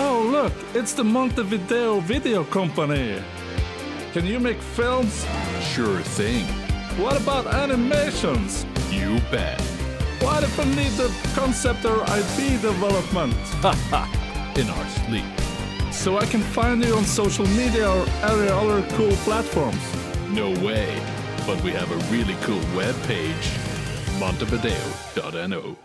Oh, look, it's the Montevideo Video Company. Can you make films? Sure thing. What about animations? You bet. What if I need the concept or IP development? In our sleep. So I can find you on social media or any other cool platforms. No way. But we have a really cool web page. Montevideo.no.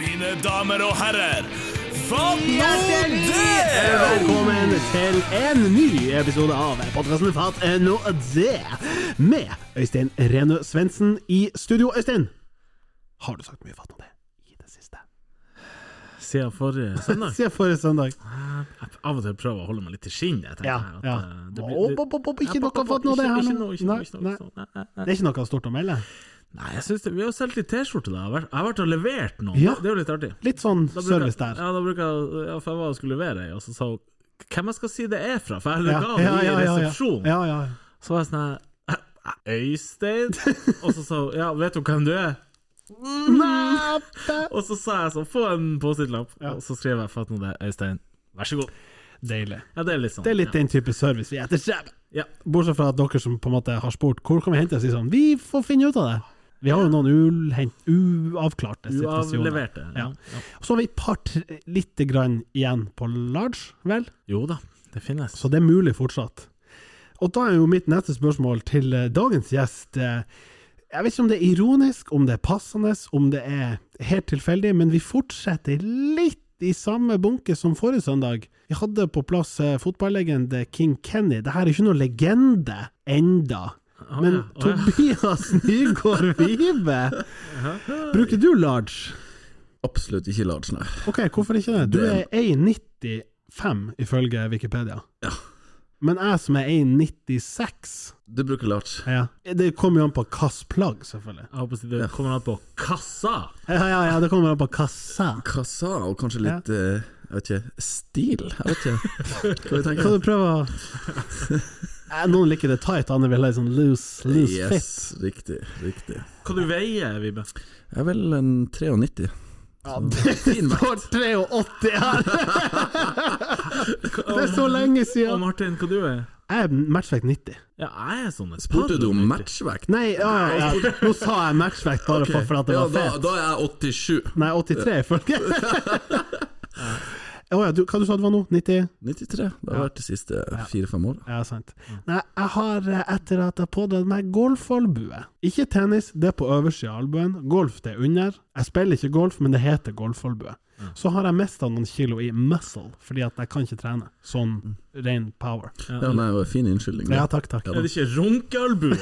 Mine damer og herrer, hva nå Hjertelig det? Velkommen til en ny episode av podkasten Fat nå det, med Øystein Renø Svendsen i studio. Øystein, har du sagt mye fat om det i det siste? Siden forrige søndag. Siden forrige søndag. Jeg av og til prøver å holde meg litt til skinnet. jeg tenker Ja, her at, ja. eh, det blir- Opp, opp, opp, opp, ikke noe fat nå, det her Ikke nå. noe, ikke noe, ikke noe, Nei, ikke noe. Nei, nei, nei. Det er ikke noe stort å melde. Nei, jeg synes det, Vi har jo solgt litt T-skjorte. da. Jeg har vært- jeg har vært og levert noen. Ja. Det er jo litt artig. Litt sånn Da bruker- service der. Ja, da bruker jeg, ja, for jeg var og skulle levere ei, og så sa hun hvem jeg skal si det er fra, for jeg Ja, ga det ja, ja, i ja, ja. resepsjonen. Ja, ja. Så var jeg sånn her Øystein? Og så sa hun ja, vet du hvem du er? Nei, det- Og så sa jeg sånn, få en Post-It-lapp, og så skrev jeg fatt nå det, Øystein. Vær så god. Deilig. Ja, det er litt sånn. Det er litt den type service vi etterstreber. Ja. ja. Bortsett fra at dere som på en måte har spurt hvor kan vi hente oss, sånn, vi får finne ut av det. Vi har jo noen ulhent- uavklarte situasjoner. Uavleverte. Ja. Så har vi et par tre- lite grann igjen på large, vel? Jo da, det finnes. Så det er mulig fortsatt. Og da er jo mitt neste spørsmål til eh, dagens gjest eh, Jeg vet ikke om det er ironisk, om det er passende, om det er helt tilfeldig, men vi fortsetter litt i samme bunke som forrige søndag. Vi hadde på plass eh, fotballegende King Kenny. Dette er ikke noe legende enda. Men Ah, ja, å ja. Tobias Nygaard Vive, bruker du large? Absolutt ikke large, nei. Ok, hvorfor ikke det? Du er 1,95 ifølge Wikipedia. Ja. Men jeg som er 1,96 Du bruker large. ja. Det kommer jo an på hvilket plagg, selvfølgelig. Jeg håper det kommer an på kassa! Ja, ja, ja, det kommer an på kassa. Kassa og kanskje litt eh, Jeg vet ikke Stil? Jeg vet ikke. Hva Kan vi tenker du prøve å Eh, Noen liker det tight, andre vil ha en sånn loose, loose Yes, riktig. riktig Hva du veier, Vibe? Jeg er vel en 93. fit. Det står 83 her! Det er så lenge Og siden! Martin, hva du er? Jeg er matchvekt 90 Ja, jeg er sånn et Spurte du om par- matchvekt? Nei, ja, ja, ja. nå sa jeg matchvekt bare for- for at det Ja, var da, fet. da er jeg 87. Nei, 83 ifølge. Å ja, du, hva du sa du det var nå? 90? 93. Det har vært de siste fire-fem åra. Ja, sant. Nei, jeg har eh, etter at jeg pådratt meg golfalbue. Ikke tennis, det er på øverste av albuen. Golf, det er under. Jeg spiller ikke golf, men det heter golfalbue. Så har jeg mista noen kilo i muscle, fordi at jeg kan ikke trene. Sånn ren power. Ja, nei, det var en fin unnskyldning. Ja, takk, takk. Er det ikke runkealbue?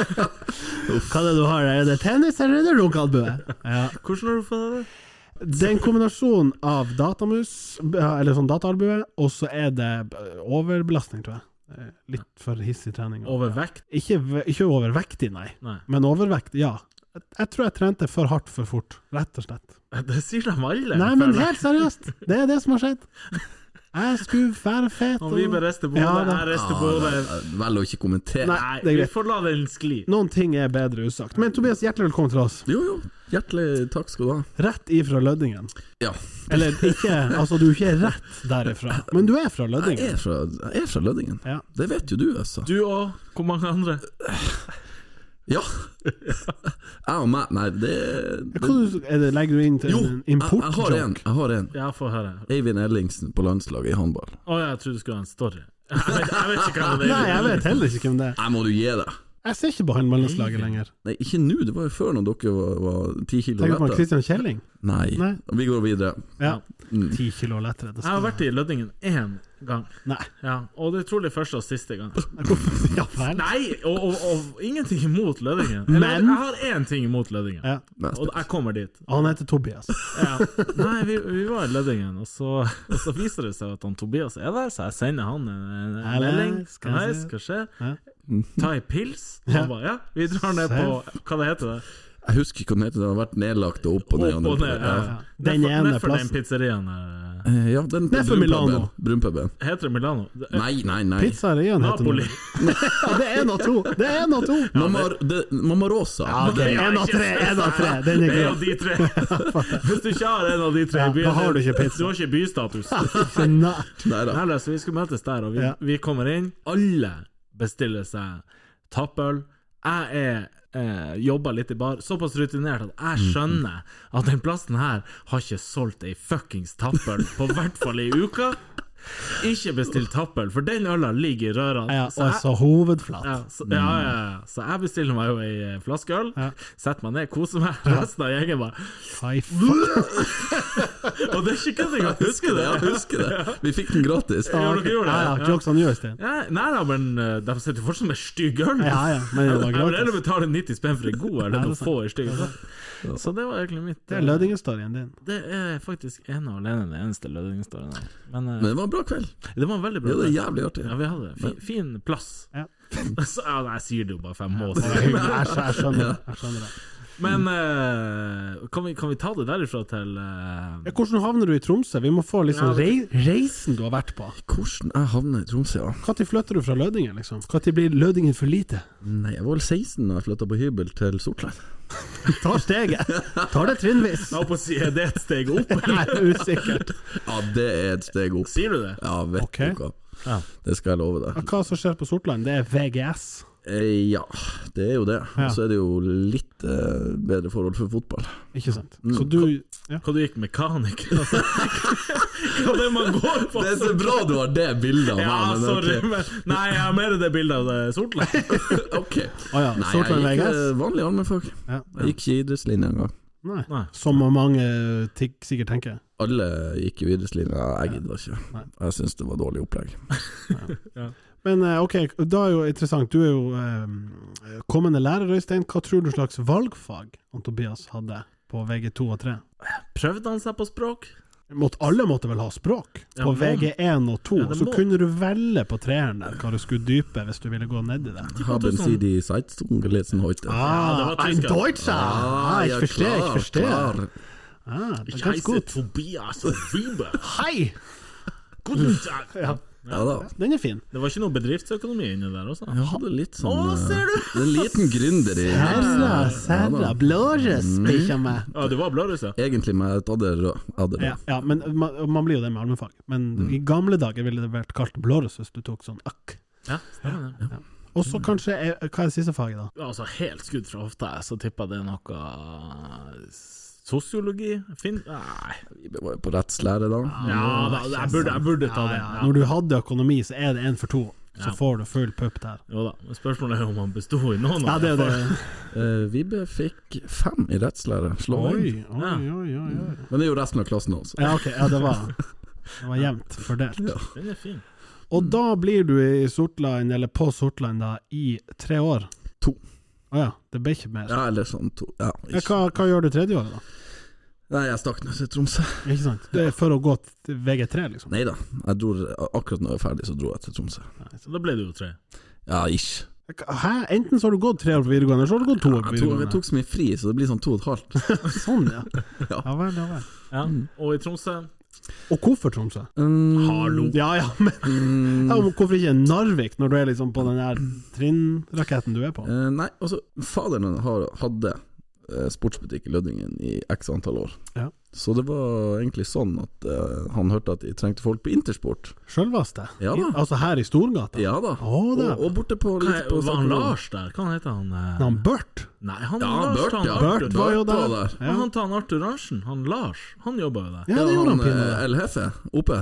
Hva er det du har? Er det tennis, eller er det runkealbue? Ja. Hvordan har du fått det? Det er en kombinasjon av datamus, b- eller sånn dataalbue, og så er det b- overbelastning, tror jeg. Eh, Litt for hissig trening. Overvekt? Ikke, v- ikke overvektig, nei. Nei. Men overvekt, ja. Jeg- Jeg tror jeg trente for hardt for fort, rett og slett. Det sier de alle. Nei, men føler jeg. helt seriøst! Det er det som har skjedd. Jeg skulle være fet. Om Vibe rister på Ja, hodet, da. jeg rister Ah, på hodet Velger å ikke kommentere. Nei. Nei, det er vi greit. får la den skli. Noen ting er bedre usagt. Men Tobias, hjertelig velkommen til oss. Jo, jo. Hjertelig takk skal du ha. Rett ifra Lødingen. Ja. Eller ikke, altså du er ikke rett derifra, men du er fra Jeg Lødingen. er fra, jeg er fra Lødingen. Ja. Det vet jo du, altså. Du og hvor mange andre? Ja. Jeg og meg Nei, det, det Hva du, er det, legger du inn til Jo, en jeg, jeg har en. importjoke? Jeg har en. Ja, få høre. Eivind Ellingsen på landslaget i håndball. Å ja, jeg trodde du skulle ha en story. Jeg vet, jeg vet ikke hva det er. Nei, jeg vet heller ikke hvem det er. Jeg må du gi deg! Jeg ser ikke på Mm. håndballandslaget lenger. Nei, ikke nå, det var jo før når dere var- var ti kilo Tenk på lettere. Christian Kjelling. Nei. Nei. Vi går videre. Ja. Mm. Ti kilo lettere. Det Jeg har skal. vært i Lødingen én gang. Nei. Ja, og det er trolig første og siste gang. Ja vel. Nei, og, og, og ingenting imot Lødingen. Eller, Men- jeg har én ting imot Lødingen, Ja. Nei, og jeg kommer dit. Han heter Tobias. Ja. Nei, vi, vi var i Lødingen, og så, og så viser det seg at han Tobias er der, så jeg sender han en, en Hei, melding. skal Hei, jeg se. hva skjer? Ja. Ta ei pils? Han ba, ja, vi drar ned på Hva det heter det? Jeg husker ikke hva den heter, den har vært nedlagt og opp og ned. Opp og ned. Ja. Ja. Den Nedfor- ene nedfor plassen. den pizzeriaen her. Eh, ja, den Ned for Milano. brunpuben. brunpuben. Heter det Milano? Det er Nei, nei, nei. Pizzariaen heter Napoli. den. Ja, det er en av to! Det er en av to! Mamma, det, Mamma Rosa. Ja, det er en av tre! En av tre. Den er Det er en av grei. de tre. Hvis du ikke har en av de tre, Ja, da blir- har du ikke pizza. Du har ikke bystatus. Nei. Nei da. Nei, da, så vi skulle møtes der, og vi, Ja. vi kommer inn. Alle bestiller seg tappøl. Jeg er eh, jobba litt i bar, såpass rutinert at Mm, jeg skjønner at den plassen her har ikke solgt ei fuckings tappøl på hvert fall ei uke. Ikke bestill tappøl, for den øla ligger i rørene. Ja, så og jeg- så hovedflat. ja, så, ja, ja, ja. så jeg bestiller meg jo ei eh, flaske øl, Ja. setter meg ned, koser meg. Resten av gjengen bare Hei, fuck. Og det er ikke kødd engang! Husker Husker du det? det, ja, husker det. Vi fikk den gratis. Ja, dere gjorde det. Ja, ja, jokes on you, Sten. Ja, nei da, men eh, de sitter jo fortsatt med stygg øl. Ja, ja, men det var altså. Jeg vil gratis. heller betale 90 spenn for en god øl Ja, enn det å er få en stygg øl. Så det var egentlig mitt Det eh, er lødingestorien din. Det er faktisk ene og alene den eneste lødningsstoryen her. Men eh, Men det var en bra kveld. det var en veldig Det bra. var kveld. jævlig artig. Ja, vi hadde en fin, fin plass. Ja. Så, ja, nei, jeg sier det jo bare, for jeg må Det si var hyggelig. Jeg skj- jeg skjønner det. Jeg skjønner det. Men eh, kan, vi, kan vi ta det derifra til eh, Ja, Hvordan havner du i Tromsø? Vi må få liksom rei reisen du har vært på. Hvordan jeg havna i Tromsø, ja. Når flytter du fra Lødingen, liksom? Når blir Lødingen for lite? Nei, jeg var vel 16 da jeg flytta på hybel til Sortland. Tar steget. Tar det trinnvis. Jeg holdt på å si, er det et steg opp? Nei, usikkert. Ja, det er et steg opp. Sier du det? Ja, vet Ok. du hva. Ja. Det skal jeg love deg. Hva som skjer på Sortland, det er VGS. Eh, ja, det er jo det. Ja. Og så er det jo litt eh, bedre forhold for fotball. Ikke sant? Så du ja. Hva du gikk mekaniker? Altså, hva det man går på? Det er så bra du har det bildet av Ja, meg. sorry, men ok. men Nei, jeg har mer det bildet av det Sortland. Ok. Å ja. Nei, jeg Sortland gikk VGS? eh, vanlig allmennfag. Ja. Jeg gikk ikke idrettslinja engang. Nei. Nei. Som mange eh, tik- sikkert tenker. Alle gikk i idrettslinja, jeg gidda ikke. Nei. Jeg syns det var dårlig opplegg. Men eh, ok, da er jo interessant. Du er jo eh, kommende lærer, Øystein. Hva tror du slags valgfag han Tobias hadde på VG2 og 3? Prøvde han seg på språk? Måtte, alle måtte vel ha språk? Ja, På må- VG1 og 2 Ja, det så må- kunne du velge på treeren der hva du skulle dype hvis du ville gå ned i det. Haben Sie die Zeitung gelesen heute? det var tysker. Deutscher! Ah, ich verstehe, ich verstehe. klar. Ah, det er Jeg ganske heiser godt. Tobias og Wibe. Hei! Guten Tag. Ja da. Den er fin. Det var ikke noe bedriftsøkonomi inni der også? Jeg hadde litt sånn Å, eh, ser du! Det er en liten gründer i Serra, Ja serra, da. blåres, bikkja mi. Ja, det var blårus, ja. Egentlig, men jeg hadde rød. Jeg hadde rød. Ja, ja, men man, man blir jo det med allmennfag. Men i gamle dager ville det vært kalt blåres hvis du tok sånn akk. ja. stemmer det. Og så kanskje eh, Hva er det siste faget, da? Altså, helt skudd fra hofta, jeg, så tippa det er noe eh, Sosiologi? Finn... Nei. Vi var jo på rettslære da. Ja da, jeg burde, jeg burde ta det. Ah, Ja. Når du hadde økonomi, så er det én for to. Så Ja. får du full pupp der. Jo da, men spørsmålet er om han besto i noen Ja, av det er jo det. Eh, Vibe fikk fem i rettslære. Slå Oi, inn. oi, oi, oi. oi. Men det er jo resten av klassen også. Ja, ok. Ja, det var, det var jevnt fordelt. Den er fin. Og da blir du i Sortland, eller på Sortland, da, i tre år? To. Å ja. Det ble ikke mer. Ja, eller sånn to. Ja, Ja, ikke. hva, hva gjør du tredje året, da? Nei, jeg stakk ned til Tromsø. Ikke sant? Det er for å gå til VG3, liksom? Nei da, jeg dro akkurat når jeg var ferdig, så dro jeg til Tromsø. Så da ble det jo tre. Ja, ish. Hæ? Enten så har du gått tre år på videregående, eller så har du gått to år på Jeg tok, jeg videregående. tok så mye fri, så det blir sånn to og et halvt. Sånn, ja. Ja. Ja vel, ja vel. Ja. Mm. Og i Tromsø Og hvorfor Tromsø? Mm, Hallo. Ja ja, men ja, men hvorfor ikke Narvik, når du er liksom på den her trinnraketten du er på? Eh, nei, altså, faderen min har, hadde eh, sportsbutikk i Lødingen i x antall år. Ja. Så det var egentlig sånn at eh, han hørte at de trengte folk på intersport. Sjølvaste? Ja da. Altså her i Storgata? Ja da. Å, og, da. og borte på, Hva litt er- på Var han Sakhalin. Lars der? Hva heter han? eh? Han Bert? Nei, han Ja, Lars, Bert, han ja. Arthur. Bert var jo Bert var der. der. Ja. Han tar han Arthur Arntzen, han Lars, han jobber jo der. Ja, det gjorde han pinadø. eh, El Hefe oppe.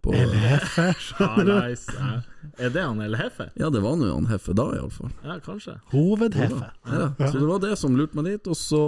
På, Ja, nice. ja. Er det han El Hefe? ja, det var nå han Hefe da, iallfall. Ja, kanskje. Hovedhefe. Ja. Så det var det som lurte meg dit, og så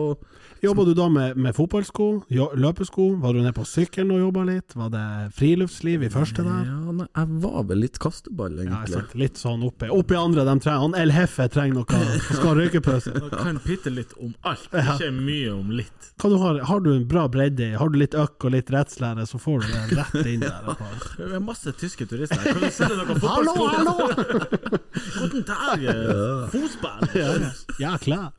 Jobba du da med, med fotballsko, jo- løpesko, var du nede på sykkelen og jobba litt, var det friluftsliv i første Ja, der? nei, jeg var vel litt kasteball, Ja, jeg egentlig. sant. Litt sånn oppi Oppi andre de trenger Han El Hefe trenger noe, skal røykepause. Han kan bitte litt om alt, ikke mye om litt. Hva du har, har du en bra bredde i, har du litt økk og litt rettslære, så får du det rett inn der. og bare- Det er masse tyske turister her. Kan du sende noen Hallo, fotballsko? hallo! Guten Tag, eh, fotball! Ja, klar.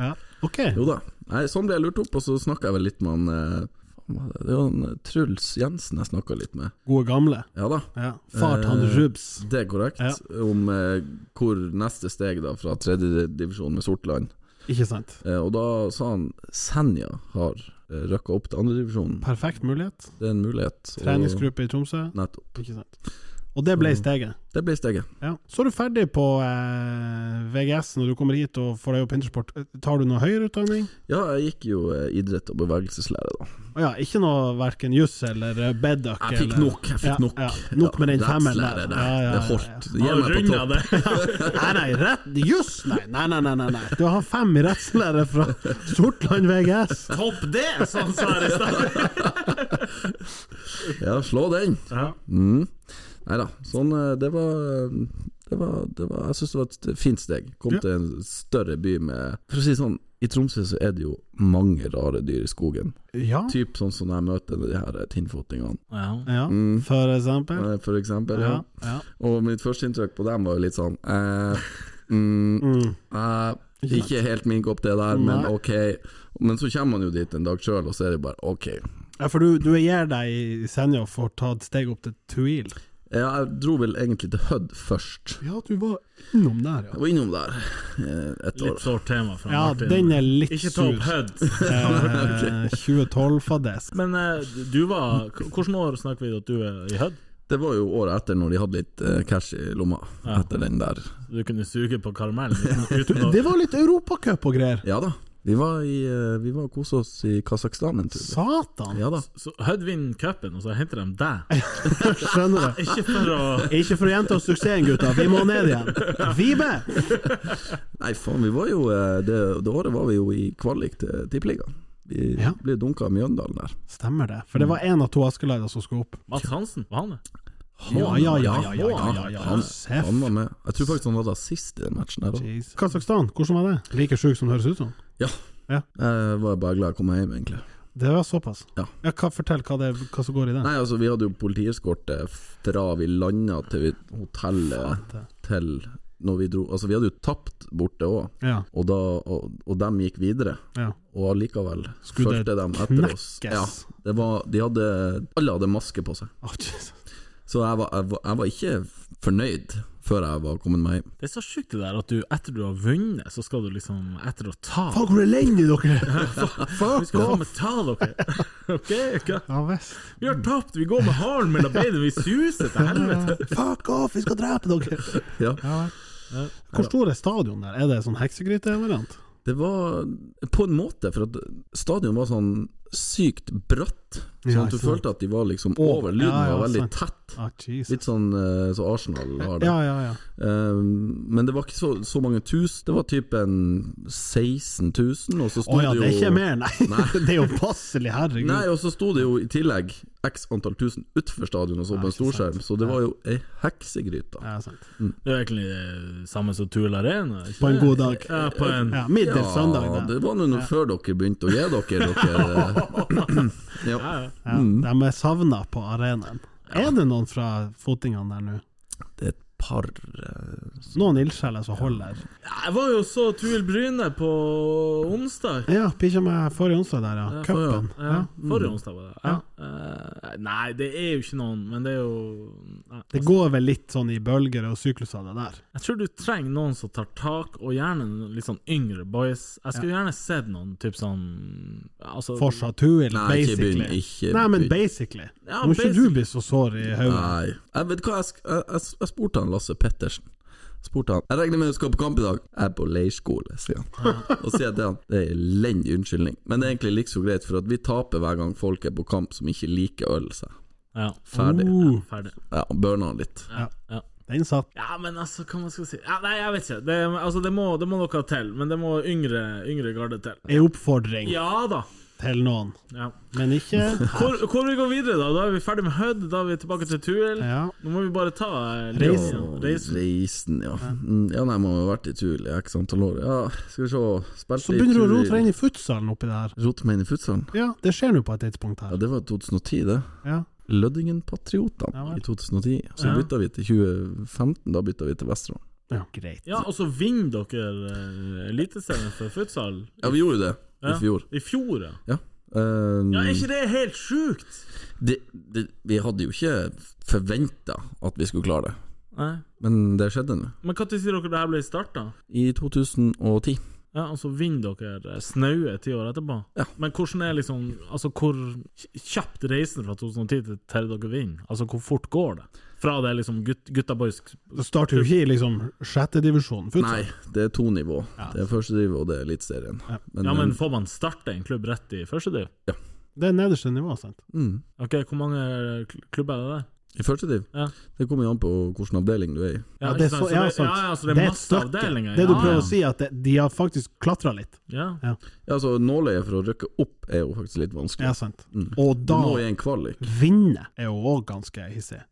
Ja. Ok. Jo da. Nei, sånn ble jeg lurt opp, og så snakka jeg vel litt med han eh, faen, hva er Det Det var han eh, Truls Jensen jeg snakka litt med. Gode gamle. Ja da, Ja. Far til han Eh, Rubs. det er korrekt. Ja. Om eh, hvor neste steg da fra tredjedivisjon med Sortland. Ikke sant? Eh, og da sa han Senja har eh, røkka opp til andredivisjonen. Perfekt mulighet. Det er en mulighet. og- Treningsgruppe i Tromsø. Nettopp. Ikke sant. Og det ble steget. Det ble steget. Ja. Så er du ferdig på eh, VGS når du kommer hit og får deg jobb på Intersport. Eh, Tar du noe høyere utdanning? Ja, jeg gikk jo eh, idrett og bevegelseslære, da. Å ja, ikke noe verken juss eller eh, bedduck? Jeg fikk eller- nok. jeg fikk Ja, Nok ja. Nok med den Ja, femmeren rettslære, der. det- Ja, ja, Det ja, holdt. ja. Gi meg på Runda topp. det. Nei, nei, rett, juss, nei. Nei, nei, nei, nei, nei. Du har fem i rettslære fra Sortland VGS. Topp det, som han sa her i stad! Ja, slå den. Ja. Mm. Nei da. Sånn, eh, det var det var, det var, jeg syns det var et fint steg. Kom Ja. til en større by med For å si det sånn, i Tromsø så er det jo mange rare dyr i skogen. Ja, Typ sånn som når jeg møter de her tinnfotingene, Ja. ja. Mm. for eksempel. eh, for eksempel. Ja. Ja, ja. Og mitt første inntrykk på dem var jo litt sånn eh, mm, Mm. eh, Ikke helt min kopp, det der, men Nei. ok. Men så kommer man jo dit en dag sjøl, og så er det bare ok. ja for du, du gir deg i Senja og får ta et steg opp til Tuil. Ja, jeg dro vel egentlig til Hødd først. Ja, du var innom der, Jeg var innom der eh, et år. Litt sårt tema fra Ja, Martin. den er litt Ikke ta sur. opp Hud. Eh, 2012-fadess. Men eh, du var Hvilket år snakker vi at du er i Hud? Det var jo året etter når de hadde litt eh, cash i lomma Ja. etter den der. Du kunne suge på karamellen uten, uten å Det var litt europacup og greier. Ja da. Vi var, i, eh, vi var og kosa oss i Kasakhstan en tur. Satan! Ja da. Så Hud vinner cupen, og så henter de deg. Skjønner du? Ikke for å Ikke for å gjenta suksessen, gutta. Vi må ned igjen. Vibe! Nei, faen, vi var jo eh, Det, det året var vi jo i kvalik til Tippeligaen. Vi Ja. ble dunka av Mjøndalen der. Stemmer det. For det var én av to Askeleider som skulle opp. Mats Hansen, var han det? Ja, ja, ja, ja, ja, ja, ja, ja. Han, Seff. han var med. Jeg tror faktisk han var sist i den matchen der òg. Kasakhstan, hvordan var det? Like sjuk som det høres ut som? Jeg var bare glad jeg kom meg hjem, egentlig. Det var såpass. Ja. Ja, hva, fortell hva, det, hva som går i den. Nei, altså, vi hadde jo eh, politieskorte fra vi landa til vi, hotellet til når vi dro Altså, vi hadde jo tapt borte òg. Ja. og, da, og, og dem gikk videre. Ja. Og allikevel Skulle det fulgte dem etter oss. knekkes? Ja, det var, de hadde, alle hadde maske på seg. Å, Jesus. Så jeg var, jeg, var, jeg var ikke fornøyd før jeg var kommet meg hjem. Det er så sjukt det der at du etter du har vunnet, så skal du liksom etter å ta Faen, hvor elendige dere er! Vi skal faen meg ta dere! Ok, hva? Ja visst. Vi har tapt, vi går med halen mellom beina, vi suser til helvete! Fuck off, vi skal drepe dere! Ja. Hvor stor er stadion der? Er det sånn heksegrytevariant? Det var på en måte, for at stadion var sånn sykt bratt. Ja, Sånn at du ikke sant. følte at de var liksom Over. over. Lyden Ja, ja, var veldig sant. tett. Ah, Jesus. Litt sånn eh, så Arsenal har det. Ja, ja, ja. Um, men det var ikke så, så mange tusen. Det var type en 16 000, og så Å sto ja, det jo det er ikke mer, nei. det er jo passelig, herregud. Nei, og så sto det jo i tillegg x antall tusen utenfor stadion og så Ja, på en ikke sant. storskjerm, så det var jo ei heksegryte. Ja, sant. Det er jo egentlig det samme som Tull Arena. ikke På en det? god dag. Ja, på en Ja, middels søndag. Ja, Det. det var nå noe før dere begynte å gi dere dere ja. Ja, De er savna på arenaen. Er det noen fra fotingene der nå? Det er et par eh, Noen ildsjeler som holder? Jeg var jo så Tuil Bryne på onsdag. Ja, bikkja meg forrige onsdag der, ja. Cupen. Ja. Ja, forrige onsdag var det. Ja. Eh, nei, det er jo ikke noen, men det er jo nei. Det går vel litt sånn i bølger og sykluser, det der. Jeg tror du trenger noen som tar tak, og gjerne noen litt sånn yngre boys. Jeg skulle gjerne sett noen typ sånn altså, Forsa Tuil, Nei, ikke begynn. basically. Ikke Nei, men begynn. basically. Ja, Må ikke basically. du bli så sår i hodet. Nei. Jeg vet hva, jeg, sk- jeg, jeg, jeg spurte han Lasse Pettersen. Spurte han Jeg regner med du skal på kamp i dag. Jeg er på leirskole, sier han. Og sier jeg til han det er elendig unnskyldning, men det er egentlig like så greit, for at vi taper hver gang folk er på kamp som ikke liker øl. Så. Ja, Ferdig. Uh, ferdig. Ja, Burna han litt. Ja, ja. den satt. ja, men altså, hva man skal si ja, Nei, jeg vet ikke. Det, altså, det, må, det må noe til, men det må yngre, yngre garde til. Ei oppfordring Ja da. til noen, Ja. men ikke Hvor, hvor vi går videre, da? Da er vi ferdig med Hødd, da er vi tilbake til Tuel. Ja. Nå må vi bare ta eh, Reisen. linjen. Og Reisen. Reisen, ja. Mm, Ja, nei, må ha vært i Tuil i x antall år. Ja, skal vi se Spilte Så begynner du å Tuil- rote deg inn i futsalen oppi det her. Rote meg inn i futsalen? Ja, det skjer nå på et tidspunkt Ja, her. det var 2010, det. Ja. Lødingen-patriotene Ja vel. i 2010. Så Ja. bytta vi til 2015, da bytta vi til Vesterålen. Ja. Greit. Ja, og så vinner dere eh, Eliteserien for futsal Ja, vi gjorde jo det Ja, i fjor. I fjor, ja. Ja. Um, Ja, Er ikke det helt sjukt? det, det, vi hadde jo ikke forventa at vi skulle klare det, Nei. men det skjedde nå. Men når sier dere det her ble starta? I 2010. Ja, og så vinner dere eh, snaue ti år etterpå. Ja. Men hvordan er liksom Altså, hvor kj- kjapt reisen fra 2010 til til dere vinner? Altså, hvor fort går det? Fra det er liksom gut, gutta boys Det starter jo ikke i liksom sjettedivisjon. Nei, det er to nivå. Det er første nivå, og det er Eliteserien. Men, Ja, men får man starte en klubb rett i første div? Det er nederste nivå, sant? mm, Ok, hvor mange kl- klubber er det der? I første div? Ja. Det kommer jo an på hvilken avdeling du er i. Ja, det er ikke sant? så- Så ja, det- sant. ja, ja, så det Det er er et masse stykke. avdelinger. Det du ja, prøver ja. å si, er at det- de har faktisk klatra litt. Ja. Ja, altså Nåløyet for å rykke opp er jo faktisk litt vanskelig. Ja, sant. Mm. Og Du må i da en kvalik. vinne er jo òg ganske hissig.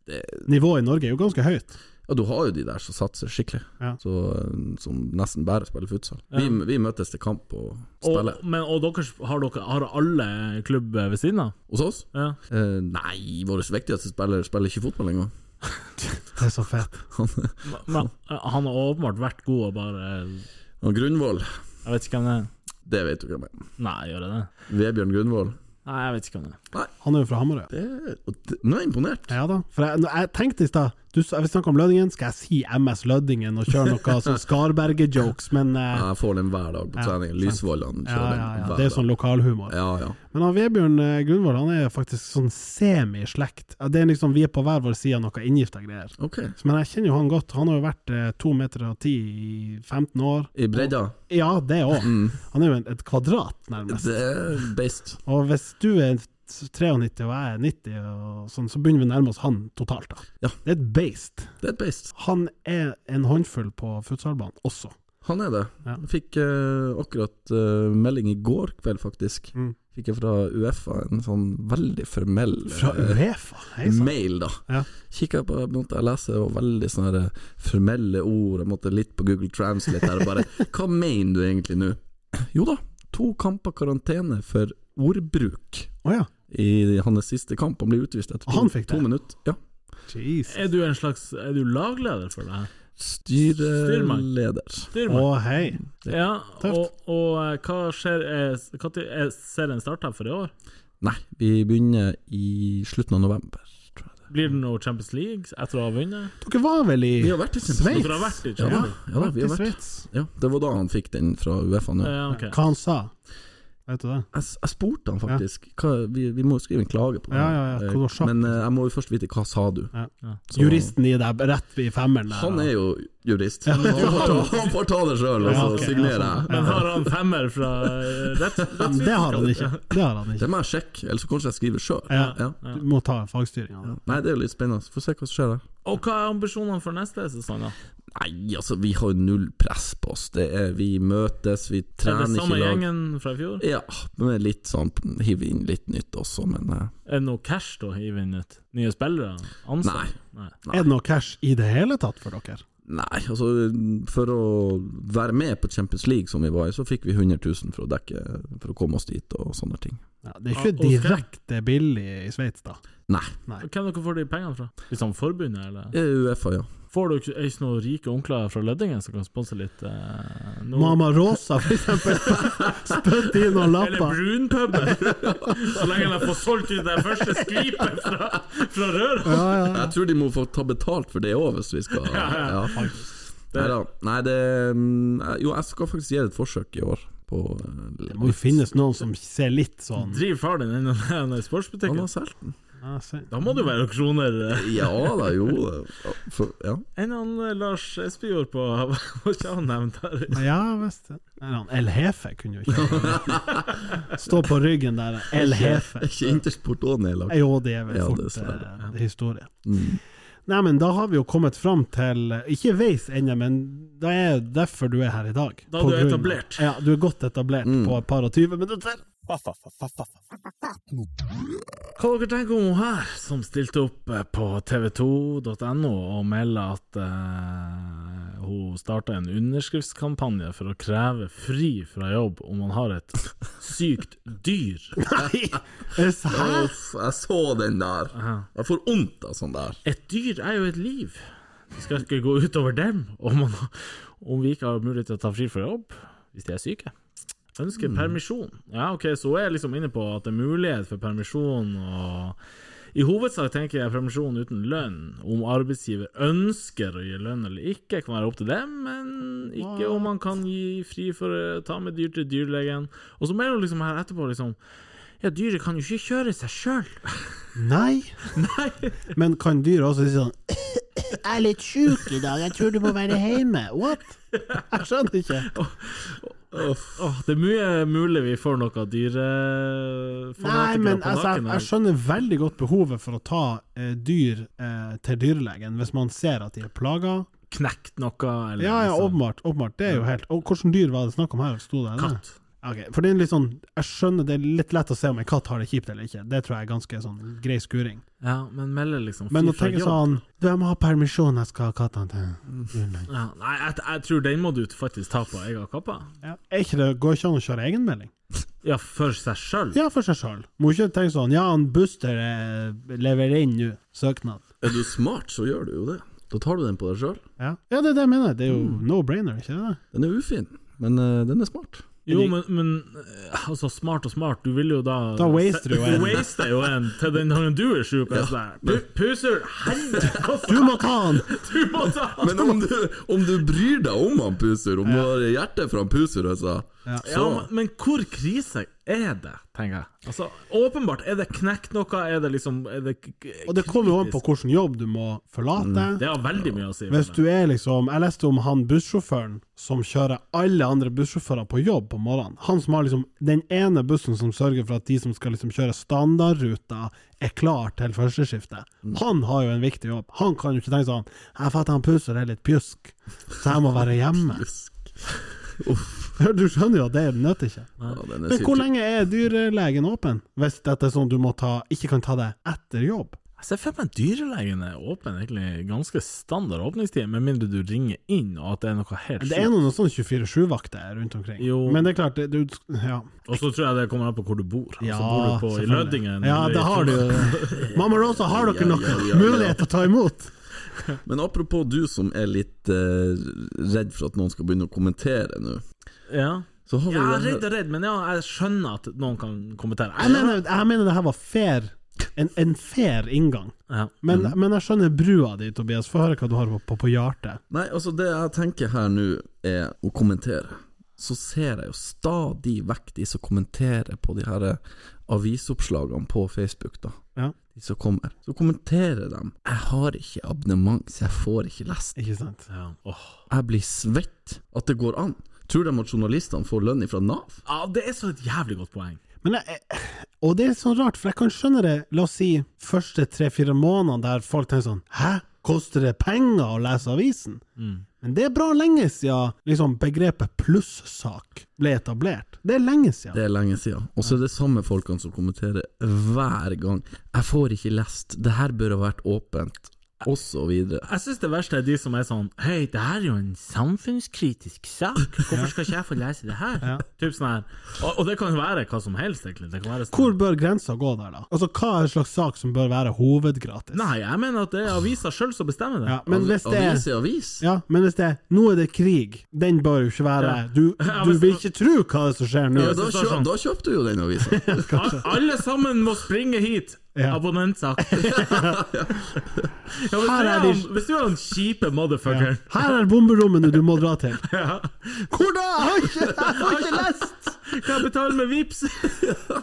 Nivået i Norge er jo ganske høyt. Ja, du har jo de der som satser skikkelig, Ja. så, eh, som nesten bare spiller futsal. Vi, vi møtes til kamp og Og, spiller. men, og dere, har dere har alle klubb ved siden av? Hos oss? Ja. Eh, nei, vår viktigste spiller spiller ikke fotball engang. Det er så fett. Men han har åpenbart vært god og bare Og Grunvoll, Jeg vet ikke hvem det er. det vet du hvem er. Nei, gjør jeg det? Vebjørn Grunvoll. Nei, jeg vet ikke hvem det er. Han er jo fra Hamarøy. Det, og det, nå er jeg imponert. Ja da. For jeg, når jeg tenkte i stad du sa- Vi snakka om Lødingen. Skal jeg si MS Lødingen og kjøre noe sånn Skarberget-jokes? Men eh, Ah, Jeg får den hver dag på Ja, trening. sant. Lysvoll han ja, kjører den ja, ja. hver Det er dag. sånn lokalhumor. Ja, ja. Men han Vebjørn eh, Grunvoll han er faktisk sånn semi-slekt. Ja, Det er liksom Vi er på hver vår side av noe inngifta greier. Ok. Men jeg kjenner jo han godt. Han har jo vært eh, to meter og ti i 15 år. I bredda, Mm. Ja, det òg. Mhm. Han er jo et, et kvadrat, nærmest. det er beist. Og hvis du er 93 og jeg er 90, og sånn, så begynner vi å nærme oss han totalt. da. Ja. Det er et beist. Det er et beist. Han er en håndfull på futsalbanen også. Han er det. Ja. Jeg Fikk eh, akkurat eh, melding i går kveld, faktisk. Mm. Fikk jeg fra Uefa en sånn veldig formell Fra eh, Uefa, hei sann. mail, da. Ja. Kikka på måtte jeg lese, og veldig sånne her, eh, formelle ord. Jeg måtte litt på Google Translate der og bare Hva mener du egentlig nå? Jo da, to kamper karantene for ordbruk Å ja. i hans siste kamp. Han ble utvist etter to, Han fikk det? to minutter. Ja. Jeez. Eh, Er du en slags Er du lagleder for det her? Styreleder. Styr Å meg. hei. Ja, tøft. og, og eh, hva skjer Er, hva tid- er serien starta for i år? Nei, vi begynner i slutten av november. Tror jeg. det. Blir det noe Champions League etter å ha vunnet? Dere var vel i Vi har vært i Sveits? Dere har vært i Ja, da, Champions League? ja, da, vi har I vært. Sveits. Ja, det var da han fikk den fra Uefa nå. Ja, ok. Hva han sa? Vet du det? Jeg, s- jeg spurte han faktisk. Hva, vi, vi må jo skrive en klage på det. Ja, ja, ja, Eh, hvor kjapt. Men eh, jeg må jo først vite hva sa du Så- Juristen i deg, rett i femmeren der. Han da. er jo jurist. Han får ta, han får ta det sjøl, og Ja, så ok, ja, signerer sånn. jeg. Men har han femmer fra eh, rett, rett Det har han ikke. Det har han Det ikke. må jeg sjekke, ellers så kanskje jeg skriver sjøl. Ja. Du må ta fagstyringa. Nei, det er jo litt spennende. Får se hva som skjer der. Og hva er ambisjonene for neste sesong, da? Nei, altså, vi har jo null press på oss. Det er, vi møtes, vi Er det trener samme ikke i lag. gjengen fra i fjor? Ja, men litt sånn hive inn litt nytt også, men eh, Er det noe cash da, i vinnet? Nye spillere? Ansatte? Nei. Nei. Er det noe cash i det hele tatt for dere? Nei, altså for å være med på Champions League som vi var i, så fikk vi 100 000 for å dekke For å komme oss dit og sånne ting. Ja, det er ikke Ja, og skal- direkte billig i Sveits, da. Nei. Hvem dere får de pengene fra? Liksom forbundet, eller? det er Uefa, ja. Får dere ikke- er ikke noen rike onkler fra Lødingen som kan sponse litt? Eh, noe- Mama Rosa, for eksempel. Spytt i noen Eller lapper. brunpuben! så lenge de får solgt ut det første skvipet fra, fra røret! Ja, ja. Jeg tror de må få ta betalt for det òg, hvis vi skal ja. Neida. Nei det mm, Jo, jeg skal faktisk gjøre et forsøk i år på eh, Det må jo finnes noen som ser litt sånn Driver far din innom den der Han sportsbutikken? har solgt den. Ja, se. Da må det jo være auksjoner. eh. Ja da, jo. Ja, For, ja. Enn han eh, Lars Espejord på Hva skal han nevnt her? Ja visst. det. Nei, han El Hefe kunne jo ikke Stå på ryggen der, El Hefe. Er ikke Intersport òg nedlagt? Jo, det er vel Ja, fort dessverre. eh, historie. Mm. Nei, men da har vi jo kommet fram til Ikke veis ennå, men det er derfor du er her i dag. Da På du er grunn- etablert. Ja, du er godt etablert på et par og tyve minutter. Hva dere tenker om hun her, som stilte opp eh, på tv2.no og melder at eh, hun starta en underskriftskampanje for å kreve fri fra jobb om man har et sykt dyr. Nei! Er det sant? Uff, jeg så den der. Jeg får vondt av sånn der. Et dyr er jo et liv. Det skal ikke gå utover dem om, man, om vi ikke har mulighet til å ta fri fra jobb hvis de er syke. Ønsker permisjon. Ja, ok, så er jeg liksom inne på at det er mulighet for permisjon og I hovedsak tenker jeg permisjon uten lønn. Om arbeidsgiver ønsker å gi lønn eller ikke, kan være opp til dem, men ikke om man kan gi fri for å ta med dyr til dyrlegen. Og så melder hun liksom her etterpå liksom Ja, dyret kan jo ikke kjøre seg sjøl. Nei, Nei! men kan dyret også si sånn Jeg er litt sjuk i dag, jeg tror du må være hjemme. What? Jeg skjønner ikke. Åh, det er mye mulig vi får noe dyre... får Nei, noe men på altså, jeg, nakken her. jeg skjønner veldig godt behovet for å ta eh, dyr eh, til dyrlegen hvis man ser at de er plaga. Knekt noe, eller Ja, ja, liksom- åpenbart. åpenbart. Det er jo helt Og hvilket dyr var det snakk om her? Sto det det? Katt. Ok, for det er litt sånn Jeg skjønner det er litt lett å se om en katt har det kjipt eller ikke. Det tror jeg er ganske sånn grei skuring. Ja, men melder liksom Men fri å fra tenke jobb. sånn Du, jeg må ha permisjon, jeg skal ha kattene til dyrlegen. Ja, nei, jeg, jeg tror den må du faktisk ta på egen kappe. Ja. Er ikke det Går ikke an å kjøre egenmelding? Ja, for seg sjøl. Ja, for seg sjøl. Må ikke tenke sånn Ja, han Buster eh, leverer inn nå søknad. Er du smart, så gjør du jo det. Da tar du den på deg sjøl. Ja. Mm. ja, det er det jeg mener. Det er jo no-brainer, ikke det? Den er ufin, men eh, den er smart. Jo, men, men eh, altså, smart og smart, du vil jo da Da waster du jo en. Du waster jo en til den dagen du er sjuk. altså. Ja. Puser, helvete, hva Du faen må ta han! du må ta Men om du, om du bryr deg om han Pusur, om du har hjertet for han Pusur, altså Ja, men, men hvor krise er det, tenker jeg. Altså, Åpenbart, er det knekt noe? Er det liksom er det k- k- Og det kommer jo an på hvilken jobb du må forlate. Det har veldig mye å si. for Hvis meg. du er liksom Jeg leste om han bussjåføren som kjører alle andre bussjåfører på jobb på morgenen. Han som har liksom den ene bussen som sørger for at de som skal liksom kjøre standardruta, er klar til førsteskiftet. Han har jo en viktig jobb. Han kan jo ikke tenke sånn Jeg fatter han pusser er litt pjusk, så jeg må være hjemme. Du skjønner jo at det nytter ikke. Ja, den er Men hvor syk. lenge er dyrlegen åpen? Hvis dette er sånn du må ta, ikke kan ta det etter jobb? Jeg ser for meg at dyrelegen er åpen, egentlig ganske standard åpningstid, med mindre du ringer inn og at det er noe helt Det er sjukt. noen sånn 24-7-vakter rundt omkring. Jo. Men det er klart, det, du, ja. Og så tror jeg det kommer an på hvor du bor. Altså, ja bor du på i selvfølgelig. Lødingen? Ja, eller i det har du Trondheim? jo. Mamma Rosa, har dere Ja, noen ja, ja, ja. mulighet til å ta imot? Men apropos du som er litt eh, redd for at noen skal begynne å kommentere nå. Ja. Så har vi ja, jo det redd her og redd, men ja, jeg skjønner at noen kan kommentere. Jeg mener, jeg mener det her var fair. En, en fair inngang. Ja. Men, men jeg skjønner brua di, Tobias. Få høre hva du har på, på, på hjertet. Nei, altså det jeg tenker her nå er å kommentere. Så ser jeg jo stadig vekk de som kommenterer på de her eh, avisoppslagene på Facebook, da. Ja. De som kommer. Så kommenterer de 'Jeg har ikke abonnement, så jeg får ikke lest'. Ikke sant? Ja. Åh. Jeg blir svett at det går an. Tror de at journalistene får lønn ifra Nav? ja, det er så et jævlig godt poeng. Men jeg, eh, og det er så rart, for jeg kan skjønne det, la oss si, første tre-fire månedene der folk tenker sånn Hæ, koster det penger å lese avisen? Mm. Men det er bra lenge siden liksom, begrepet plussak ble etablert. Det er lenge siden. Det er lenge siden. Og så er det samme folkene som kommenterer hver gang. 'Jeg får ikke lest', 'det her bør ha vært åpent', og så videre. Jeg syns det verste er de som er sånn Hei, det her er jo en samfunnskritisk sak. Hvorfor skal ikke jeg få lese det her? Typ sånn her. Og, og det kan jo være hva som helst, egentlig. Det kan være sånn. Hvor bør grensa gå der, da? Altså, hva er en slags sak som bør være hovedgratis? Nei, jeg mener at det er avisa sjøl som bestemmer det. Ja, men hvis det er Avis er avis. ja, men hvis det er Nå er det krig, den bør jo ikke være Du, Ja, du hvis vil det- ikke tro hva det er som skjer nå. Ja, da, det står kjøp, sånn. da kjøpte du jo den avisa. Al- Alle sammen må springe hit! Ja. Abonnentsak. ja, hvis, du Her er er de- han, hvis du er han kjipe motherfuckeren Her er bomberommene du må dra til. ja. Hvor da?! Jeg har ikke, jeg får ikke lest! Kan jeg betale med vips?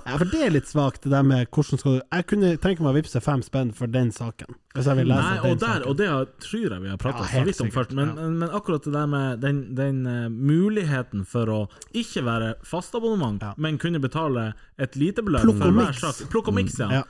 Ja, for det er litt svakt, det der med hvordan skal du Jeg kunne tenke meg å vippse fem spenn for den saken, hvis jeg vil lese Nei, og, den der, saken. og det har- tror jeg vi har prata Ja, så helt vidt om sikkert, først, men, ja. men- men akkurat det der med den, den eh, muligheten for å ikke være fastabonnement, Ja. men kunne betale et lite beløp Plukk for og hver mix. sak. Plukk og miks, Ja. ja.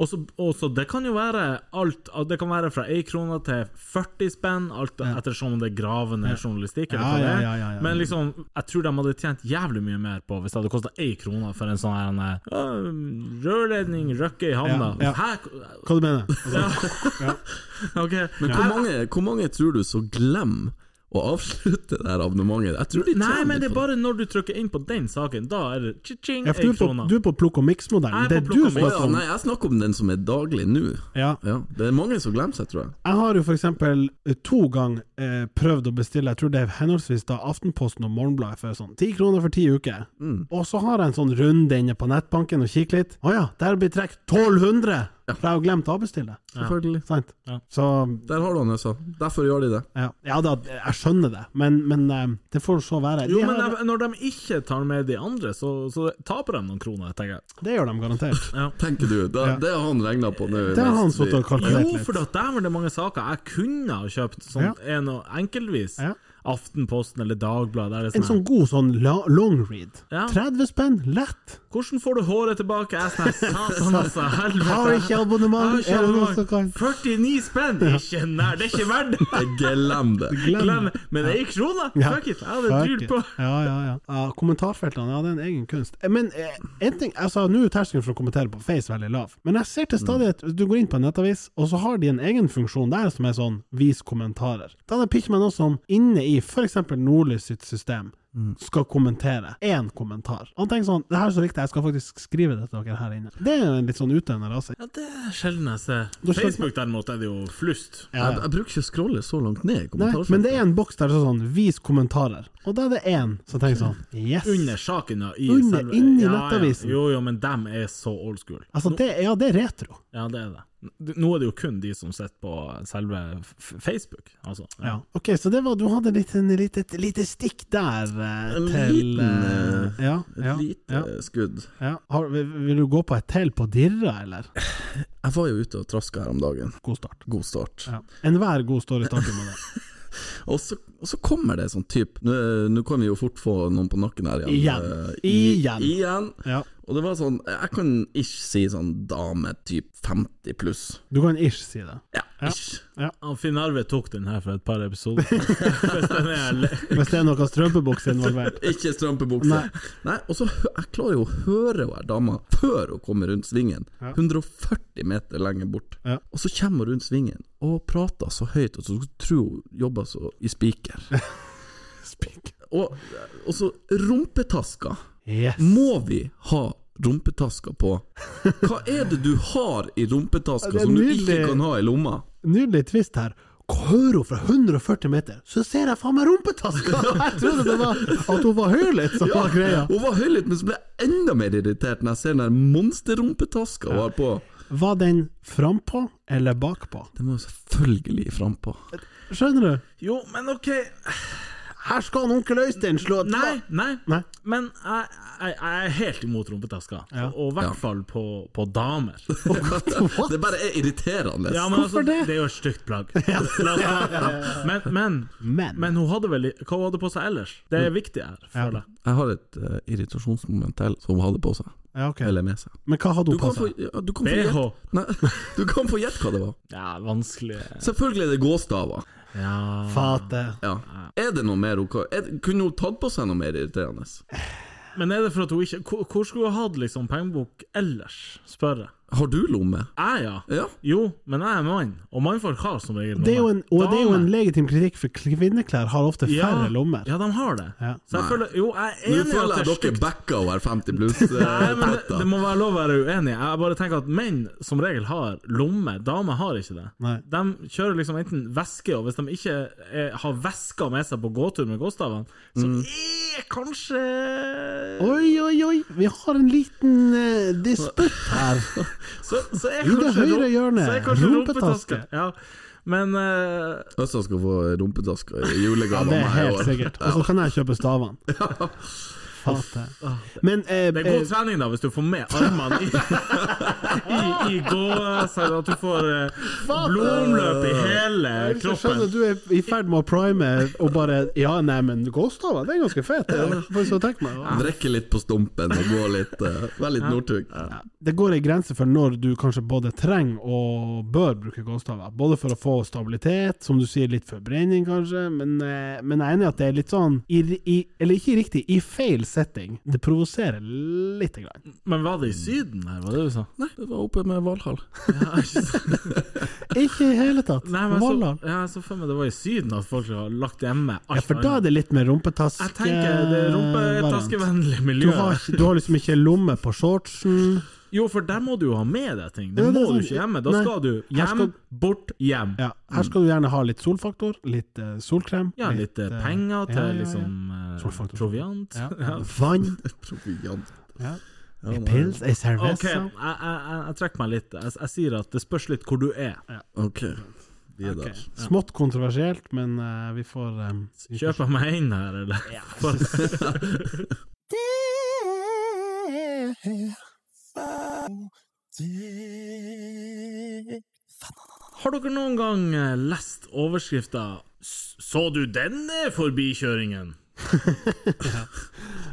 Og så- og så det kan jo være alt at Det kan være fra 1 krone til 40 spenn, alt ettersom om det er gravende journalistikk. Eller Ja, hva det ja, er. ja, ja, ja. Men liksom, jeg tror de hadde tjent jævlig mye mer på hvis det hadde kosta 1 krone for en sånn her en, eh, rørledning Røkke i havna. Ja, ja. Hæ? Hva du mener du? Ok. Men hvor mange, hvor mange tror du som glemmer å avslutte det her abonnementet. Jeg tror de Nei, men det er på bare når du trykker inn på den saken, da er det tjing, Ja, for du ei er på, krone. du er på plukk og Jeg er mix-modellen. Det på plukk du og mix. Å snakker ja, om. nei, jeg snakker om den som er daglig nå. Ja. Ja, det er mange som glemmer seg, tror jeg. Jeg har jo for eksempel eh, to ganger eh, prøvd å bestille, jeg tror det er henholdsvis da Aftenposten og Morgenbladet for sånn ti kroner for ti uker. Mm. Og så har jeg en sånn runde inne på nettbanken og kikker litt. Å ja, der blir trukket 1200! For jeg har glemt å avbestille. Selvfølgelig. Sant? Ja. Så Der har du han, altså. Derfor gjør de det. ja, ja da, jeg skjønner det, men, men eh, det får så være. De Jo, men her, de- når de ikke tar med de andre, så, så taper de noen kroner, tenker jeg. det gjør de garantert. Tenker du. Da, Det har han regna på nå. Det har han mens vi- sittet og kalkulert Jo, for litt. da dæven, det er mange saker jeg kunne ha kjøpt sånn Ja. en og enkeltvis. Ja. Aftenposten eller Dagbladet. der er En sånn sånn god sånn la, long read. Ja. 30 spenn, lett. her, Hvordan får du håret tilbake? Jeg er sånn her, satan, altså. Helvete. Har ikke abonnement, Har ikke er det noen abonnement. som kan- 49 spenn! Ikke nær, det er ikke verdt det! Glem det. Glem det. Men ei krone? Fuck it, jeg hadde fuck drylt it. på. Ja, ja, ja. ja kommentarfeltene, ja, det er en egen kunst. Eh, Men eh, en ting, altså, nå er terskelen for å kommentere på Face veldig lav, men jeg ser Mm. til stadighet Du går inn på en nettavis, og så har de en egen funksjon der som er sånn 'vis kommentarer'. Da er det pitcher meg noe som inne i f.eks. Nordlys sitt system Mm. skal kommentere én kommentar. Han tenker sånn 'det her er så viktig, jeg skal faktisk skrive det til dere her inne'. Det er jo en litt sånn utøvende rase. Ja, det er sjelden jeg ser. Da skjønner- Facebook derimot er det jo flust. Jeg, jeg bruker ikke å scrolle så langt ned i Eh, Nei, men det kommentarfeltet. er en boks der det står sånn 'vis kommentarer', og da er det én som tenker sånn 'yes'. Under saken, ja. I Under- selve- inni ja, nettavisen. Ja. Jo, jo, men dem er så old school. Altså, det, ja, det er retro. Ja, det er det. Nå er det jo kun de som sitter på selve f Facebook, altså. Ja. Ok, så det var, du hadde litt, en, litt, et lite stikk der eh, En til liten, eh, Ja. ja, Et lite ja, eh, skudd. ja. Har, vil, vil du gå på et til på Dirra, eller? Jeg var jo ute og traska her om dagen. God start. God start. Ja. Enhver god story starter med det. Og så, og så kommer det sånn type Nå nå kan vi jo fort få noen på nakken her igjen. Igjen. Eh, i- Igjen. igjen. Ja. Og det var sånn Jeg kan ikke si sånn dame typ 50 pluss. Du kan ish si det. Ja, ikke. Han Finn Arve tok den her for et par episoder. Hvis den er le- Hvis det er noe strømpebukse involvert. Ikke strømpebukse. Nei. og så hø- Jeg klarer jo å høre hun her dama før hun kommer rundt svingen. 140 meter lenger bort. Ja. Og så kommer hun rundt svingen og prater så høyt, og så tror hun jobber så i spiker. og, og så rumpetaska. Yes. Må vi ha rumpetaska på? Hva er det du har i rumpetaska Ja, det er som du nydelig. ikke kan ha i lomma? Nydelig twist her. Hører hun fra 140 meter, så ser jeg faen meg rumpetaska! Jeg trodde det var at hun var høylytt som var greia. Hun var høylytt, men så ble jeg enda mer irritert når jeg ser den der monsterrumpetaska hun har på. Var den frampå eller bakpå? Det må jo selvfølgelig frampå. Skjønner du? Jo, men OK. Her skal han onkel Øystein slå et Nei, nei. Nei. Men jeg, jeg, jeg er helt imot rumpetasker. Og i Ja. hvert fall på, på damer. What? Det bare er irriterende. Ja, men Hvorfor altså, det? Det er jo et stygt plagg. La oss ta det. Men, men, Men. men hun hadde vel Hva hun hadde på seg ellers? Det Mm. er viktig her, føler jeg. Jeg har et eh, irritasjonsmoment til som hun hadde på seg. Ja, ok. Eller med seg. Men hva hadde Du hun på kan få seg? ja, du kan få BH. gjette- Nei, Du kan få gjette hva det var. Ja, vanskelig Selvfølgelig er det gåstaver. Ja Fate. Ja. Er det noe mer hun kan er, Kunne hun tatt på seg noe mer irriterende? Men er det for at hun ikke hvor- Hvor skulle hun hatt liksom pengebok ellers, spør jeg. Har du lomme? Jeg, ja. Ja. Jo, men jeg er mann, og mannfolk har som regel Det er jo en, og det er jo en Dame- legitim kritikk, for kvinneklær har ofte færre lommer. Ja, de har det. Ja. Så jeg føler Jo, jeg er Nå enig i føler at jeg det er dere stygt. backa over 50 pluss. Nei, men det, det Uh, må være lov å være uenig. Jeg bare tenker at menn som regel har lomme, damer har ikke det. Nei. De kjører liksom enten veske, og hvis de ikke er, har veska med seg på gåtur med gåstavene, så Mm. er kanskje Oi, oi, oi! Vi har en liten eh, disputt her. Så, så er I det kanskje høyre rom- hjørnet, så er kanskje rumpetaske. rumpetaske. Ja. Men eh, Østra skal få rumpetasker i Ja, julegave det av er meg i helt år. sikkert. Og så kan jeg kjøpe stavene. Fate. Men eh, Ah. det er eh, god trening, da, hvis du får med armene i, i, i gåser, at du får eh, blodomløp i hele Eh, jeg kroppen. skjønner du er i ferd med å prime og bare Ja, nei, men gåstaver, det er ganske fett. Det, får jeg så tenke meg. Drikke litt på stumpen og gå litt uh, Være litt Northug. det går ei grense for når du kanskje både trenger og bør bruke gåstaver. Både for å få stabilitet, som du sier, litt forbrenning kanskje, men, eh, men jeg er enig i at det er litt sånn i, i, Eller ikke riktig, i feil setting. Det provoserer lite grann. Men var det i Syden her, var det du sa? Nei, det var oppe med Valhall. Ja, ikke sant? Ikke i hele tatt. Nei, men altså, jeg så, Valhall. ja, jeg så for meg det var i Syden at folk har lagt hjemme alt Ja, for da er det litt mer rumpetaske... Jeg tenker det er rumpetaskevennlig Du miljø. har, ikke- du har liksom ikke lomme på shortsen. Jo, for der må du jo ha med deg ting. Det Ja, det er må du sant. ikke hjemme. Da Nei. skal du Her hjem, skal- bort, hjem. Ja, her skal du gjerne ha litt solfaktor, litt eh, solkrem. Ja, litt eh, eh, penger til ja, ja, ja. liksom eh, Solfaktor. proviant. ja. Vann, Proviant. ja. Ja, nei. pils, ei OK, cerveza. jeg, jeg, jeg, jeg trekker meg litt. Jeg, jeg sier at det spørs litt hvor du er. Ok, vi er Ok. der. Smått kontroversielt, men eh, vi får eh, vi får Kjøper jeg meg inn her, eller? For, har dere noen gang eh, lest overskrifta «S- 'Så du denne forbikjøringen'? Ja,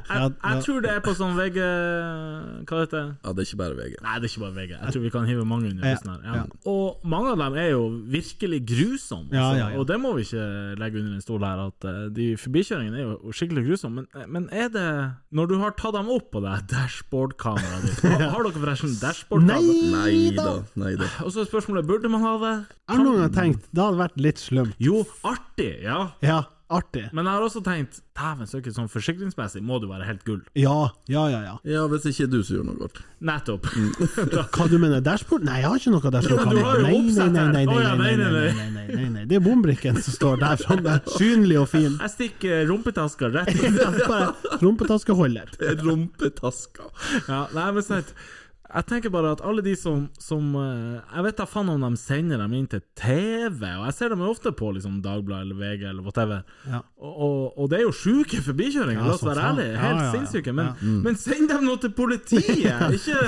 Jeg, ja. jeg tror det er på sånn VG Hva heter det? Ja, det er ikke bare VG. Nei, det er ikke bare VG. Jeg tror vi kan hive mange under Ja, bussen her. Ja. Og mange av dem er jo virkelig grusomme, altså. Ja, ja, ja. og det må vi ikke legge under en stol her, at eh, de forbikjøringene er jo skikkelig grusomme. Men, eh, men er det Når du har tatt dem opp på det dashboardkameraet ditt har, har dere forresten dashboardkamera? Nei da. Nei da. Og så er spørsmålet burde man ha det? Jeg har noen gang tenkt det hadde vært litt slumt. Jo, artig, ja. Ja, artig. Men jeg har også tenkt Dæven søker, sånn forsikringsmessig må du være helt gull. Ja, ja, ja. ja. Ja, hvis ikke du som gjør noe godt. Nettopp. Mm. Hva du mener dashbord? Nei, jeg har ikke noe dashbord. men du har jo Nei, nei, oppsett nei, her. nei, nei, Å, ja, nei, nei, nei, nei, nei, nei, nei. Det er bombrikken som står der framme, synlig og fin. Jeg stikker rumpetaska rett inn. Bare rumpetaskeholder. Rumpetaska. Ja, nei, men sant. Jeg tenker bare at alle de som, som eh, Jeg vet da faen om de sender dem inn til TV, og jeg ser dem jo ofte på liksom Dagbladet eller VG eller whatever. Ja. Og, og, og det er jo sjuke forbikjøringer, Ja, la oss som være faen. ærlige. Ja, Helt ja, ja. sinnssyke. Men, Ja. Mm. men send dem nå til politiet! Ikke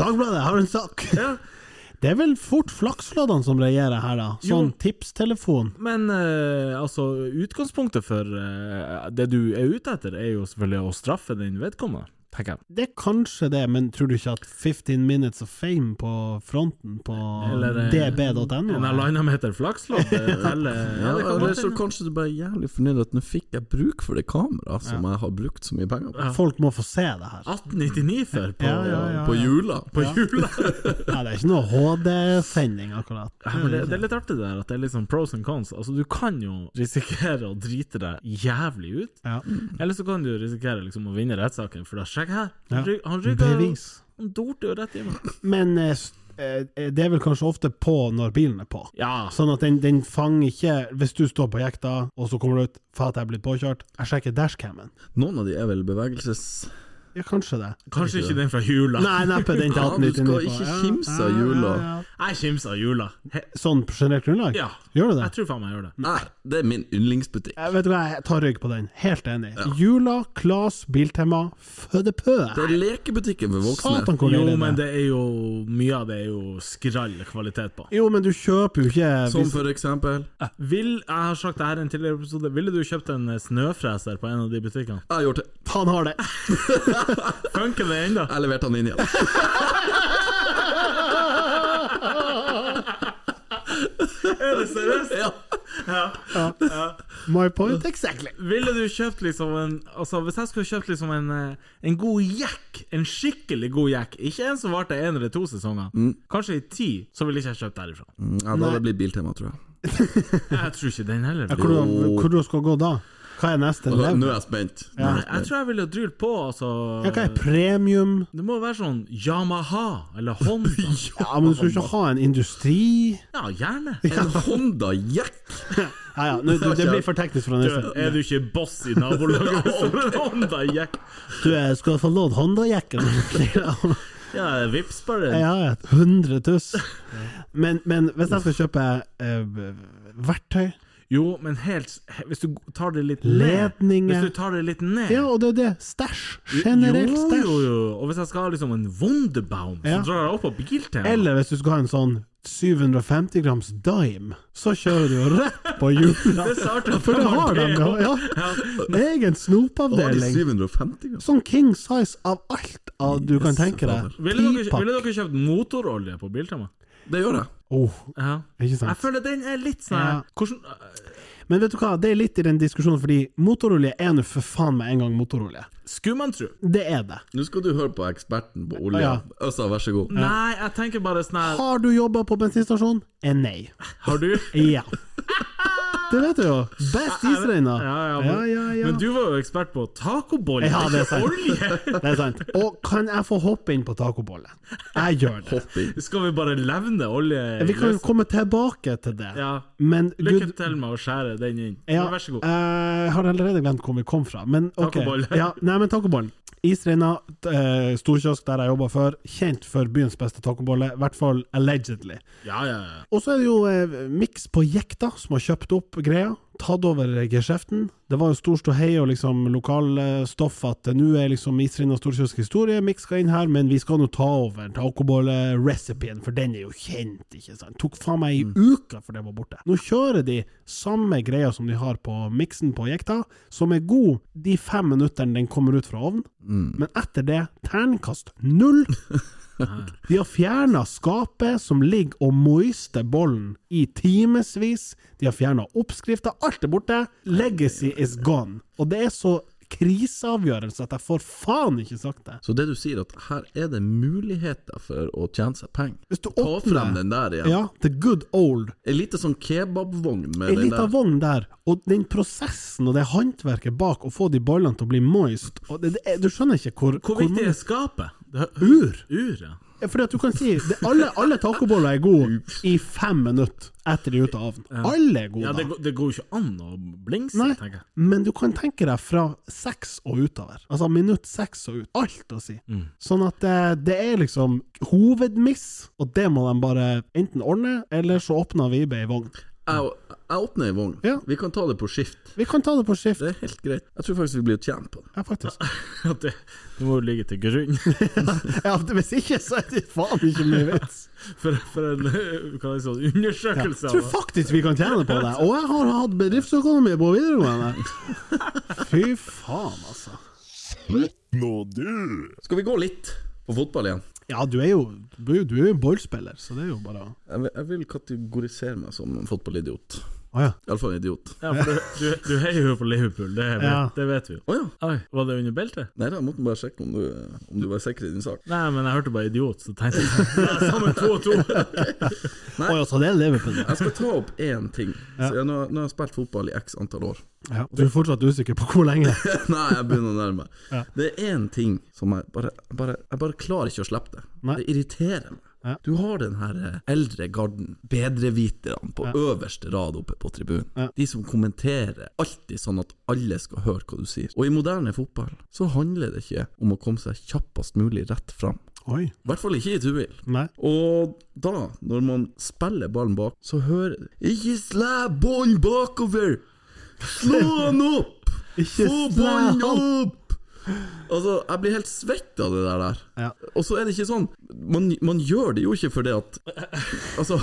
Dagbladet har en sak. ja. Det er vel fort flaksloddene som regjerer her, da. Sånn Jo. tipstelefon. Men eh, altså, utgangspunktet for eh, det du er ute etter, er jo selvfølgelig å straffe den vedkommende, tenker jeg. Det er kanskje det, men tror du ikke at 15 minutes of fame på fronten på Eller, eh, db.no? En er- eller annen meter flakslodd det teller ja, Ja, det kan eller godt så hende. kanskje du bare er jævlig fornøyd at nå fikk jeg bruk for det kameraet som jeg har brukt så mye penger på. Folk må få se det her. 1899 for på, Ja, ja, ja. På jula. på jula. Ja, det er ikke noe HD-sending, akkurat. Ja, men det, det er litt artig det der at det er litt sånn pros and cons. Altså, du kan jo risikere å drite deg jævlig ut, Ja. eller så kan du risikere liksom å vinne rettssaken, for da sjekk her. Ja. Han ry- Han rygga jo Bevis. Han dorte jo rett i meg. Men eh, s- eh, det er vel kanskje ofte på når bilen er på. Ja. altså, Sånn at den, den fanger ikke Hvis du står på jekta, og så kommer du ut Faen, jeg er blitt påkjørt. Jeg sjekker dashcamen. Noen av de er vel bevegelses... Ja, kanskje det. Kanskje ikke den fra jula. Nei, neppe den til Ja, du 1899. skal ikke kimse av jula. Jeg kimser av jula. He Sånn på generelt grunnlag? ja. Gjør du det? Jeg tror faen meg jeg gjør det. Nei, det er min yndlingsbutikk. Jeg Eh, vet du hva, jeg tar rygg på den. Helt enig. Jula, Klas, Biltema, Fødepø. Det er lekebutikken for voksne. Satan, hvor Jo, deilig men det er. det er jo Mye av det er jo skrall kvalitet på. Jo, men du kjøper jo ikke Som hvis- for eksempel Vil, jeg har sagt det her i en tidligere episode, ville du kjøpt en eh, snøfreser på en av de butikkene? Jeg har gjort det. Han har det! Funker det ennå? Jeg leverte han inn igjen. Er det seriøst? Ja. My point exactly. Ville du kjøpt liksom en Altså Hvis jeg skulle kjøpt liksom en eh, En god jekk, en skikkelig god jekk, ikke en som varte en eller to sesonger, Mm. kanskje i ti, så ville ikke jeg kjøpt derifra. Ja, da hadde det blitt biltema, tror jeg. Jeg tror ikke den heller. Hvor, blir- du- hvor du skal gå da? Hva er neste Altså, Nå level? er jeg spent. Ja. Jeg tror jeg ville drylt på, altså. Ja, hva er premium? Det må jo være sånn Yamaha eller Honda. Ja, men du skal ikke ha en industri Ja, gjerne. En Honda Jack! Ja ja, nå, du, det blir for teknisk for neste. Er du ikke boss i nabolaget? Så Honda jekk. Du jeg skal få lånt Honda-jekken. Ja, vips bare. Ja, ja. 100 tuss. Men, men hvis jeg skal kjøpe eh, verktøy Jo, men helt Hvis du tar det litt Ledninger. ned Hvis du tar det litt ned Ja, og det er det. Stæsj. Generelt jo, stæsj. jo, jo. Og hvis jeg skal ha liksom en Wunderbaum, Ja. så drar jeg opp på biltema. Eller hvis du skal ha en sånn 750 grams dime, så kjører du jo rett på hjula. Det starter For det fra har de det, jo! Ja. Egen Har de snopavdeling. 750 gram? Sånn king size av alt av du kan Jesus, tenke deg. Ville dere, Pipa. ville dere kjøpt motorolje på biltema? Det gjør jeg. Oh, Ja. ikke Jeg sant. føler den er litt sånn Ja. Hvordan Men vet du hva, det er litt i den diskusjonen, fordi motorolje er nå for faen meg en gang motorolje. Skulle man tro. Det er det. Nå skal du høre på eksperten på olje. Ja. Øssa, vær så god. Nei, jeg tenker bare sånn her Har du jobba på bensinstasjon? Eh, nei. Har du? Ja. Det vet du jo. Best isreina. Ja, ja, men, ja, ja, ja. men du var jo ekspert på tacoboller, Ja, det er ikke sant. olje! Det er sant. Og kan jeg få hoppe inn på tacobolle? Jeg gjør det. Hopp inn. Skal vi bare levne olje i Vi kan løs? komme tilbake til det. Ja. Men Lykke gud til med å skjære den inn. ja, eh, Vær så god. Jeg har allerede glemt hvor vi kom fra, men ok. Tacobolle. Ja, nei, men tacobollen. Isreina, eh, storkiosk der jeg jobba før. Kjent for byens beste tacobolle, i hvert fall allegedly. Ja, ja, ja. Og så er det jo eh, Mix på jekta, som har kjøpt opp greia. Tatt over geskjeften. Det var jo stor ståhei og liksom lokalstoff at eh, nå er liksom Isrind og Storkjøsk historie, Mix skal inn her, men vi skal nå ta over tacobolle-recipien, for den er jo kjent, ikke sant. Tok faen meg ei uke for den var borte. Nå kjører de samme greia som de har på Mixen på jekta, som er god de fem minuttene den kommer ut fra ovnen, men etter det terningkast null. De har fjerna skapet som ligger og moister bollen i timevis. De har fjerna oppskrifta. Alt er borte. Legacy is gone. Og det er så kriseavgjørelse at jeg får faen ikke sagt det. Så det du sier, at her er det muligheter for å tjene seg penger. Hvis du Ta frem åpner den der igjen. ja, the good old. En liten sånn kebabvogn med Ei den lita der. vogn der, og den prosessen og det håndverket bak å få de bollene til å bli moist og det, det, er- Du skjønner ikke hvor Hvor viktig er skapet? Det er- Ur! Ur, ja. Ja, Fordi at du kan si det, Alle, alle tacoboller er gode i fem minutter etter de er ute av ovnen. Alle er gode. ja da. det, går- det går jo ikke an å blingse, Nei, tenker jeg. men du kan tenke deg fra seks og utover. Altså minutt seks og ut. Alt å si. Sånn at det, det er liksom hovedmiss, og det må de bare enten ordne, eller så åpner vi ei vogn. Jeg, jeg åpner ei vogn. Ja. Vi kan ta det på skift. Vi kan ta det på skift. Det er helt greit. Jeg tror faktisk vi blir tjent på det. Ja, faktisk. Ja, det, det må jo ligge til grunn Ja, hvis ikke, så er det faen ikke mye vits. for, for en eh, hva er det sånn, Jeg undersøkelse. tror faktisk vi kan tjene på det. Og jeg har hatt bedriftsøkonomi på videregående. Fy faen, altså. Skal vi gå litt på fotball igjen? Ja, du er jo Du er jo- du er jo ballspiller, så det er jo bare å Jeg vil, jeg vil kategorisere meg som en fotballidiot. Å ja. Iallfall en idiot. ja, for du, du, du heier jo på Liverpool, det, vet- Ja. det vet vi jo. Å ja. Oi, var det under beltet? Nei, jeg måtte bare sjekke om du, om du var sikker i din sak. Nei, men jeg hørte bare idiot, så tenkte jeg det er sammen to og to. Å ja, så det er Liverpool. ja. Jeg skal ta opp én ting. Så jeg, nå, nå har jeg spilt fotball i x antall år. Ja, du er fortsatt usikker på hvor lenge. Nei, jeg begynner å nærme meg. Det er én ting som jeg bare, bare Jeg bare klarer ikke å slippe det. Nei. Det irriterer meg. Ja. Du har den her eh, eldre garden, bedreviterne, på øverste rad oppe på tribunen. Ja. De som kommenterer alltid sånn at alle skal høre hva du sier. Og i moderne fotball så handler det ikke om å komme seg kjappest mulig rett fram. Oi. I hvert fall ikke i tuil. Nei. Og da, når man spiller ballen bak, så hører du Ikke slæ ballen bakover! Slå han opp! Ikke slæ Få ballen han! opp! Altså, jeg blir helt svett av det der. der. Ja. Og så er det ikke sånn man, man gjør det jo ikke fordi at Altså,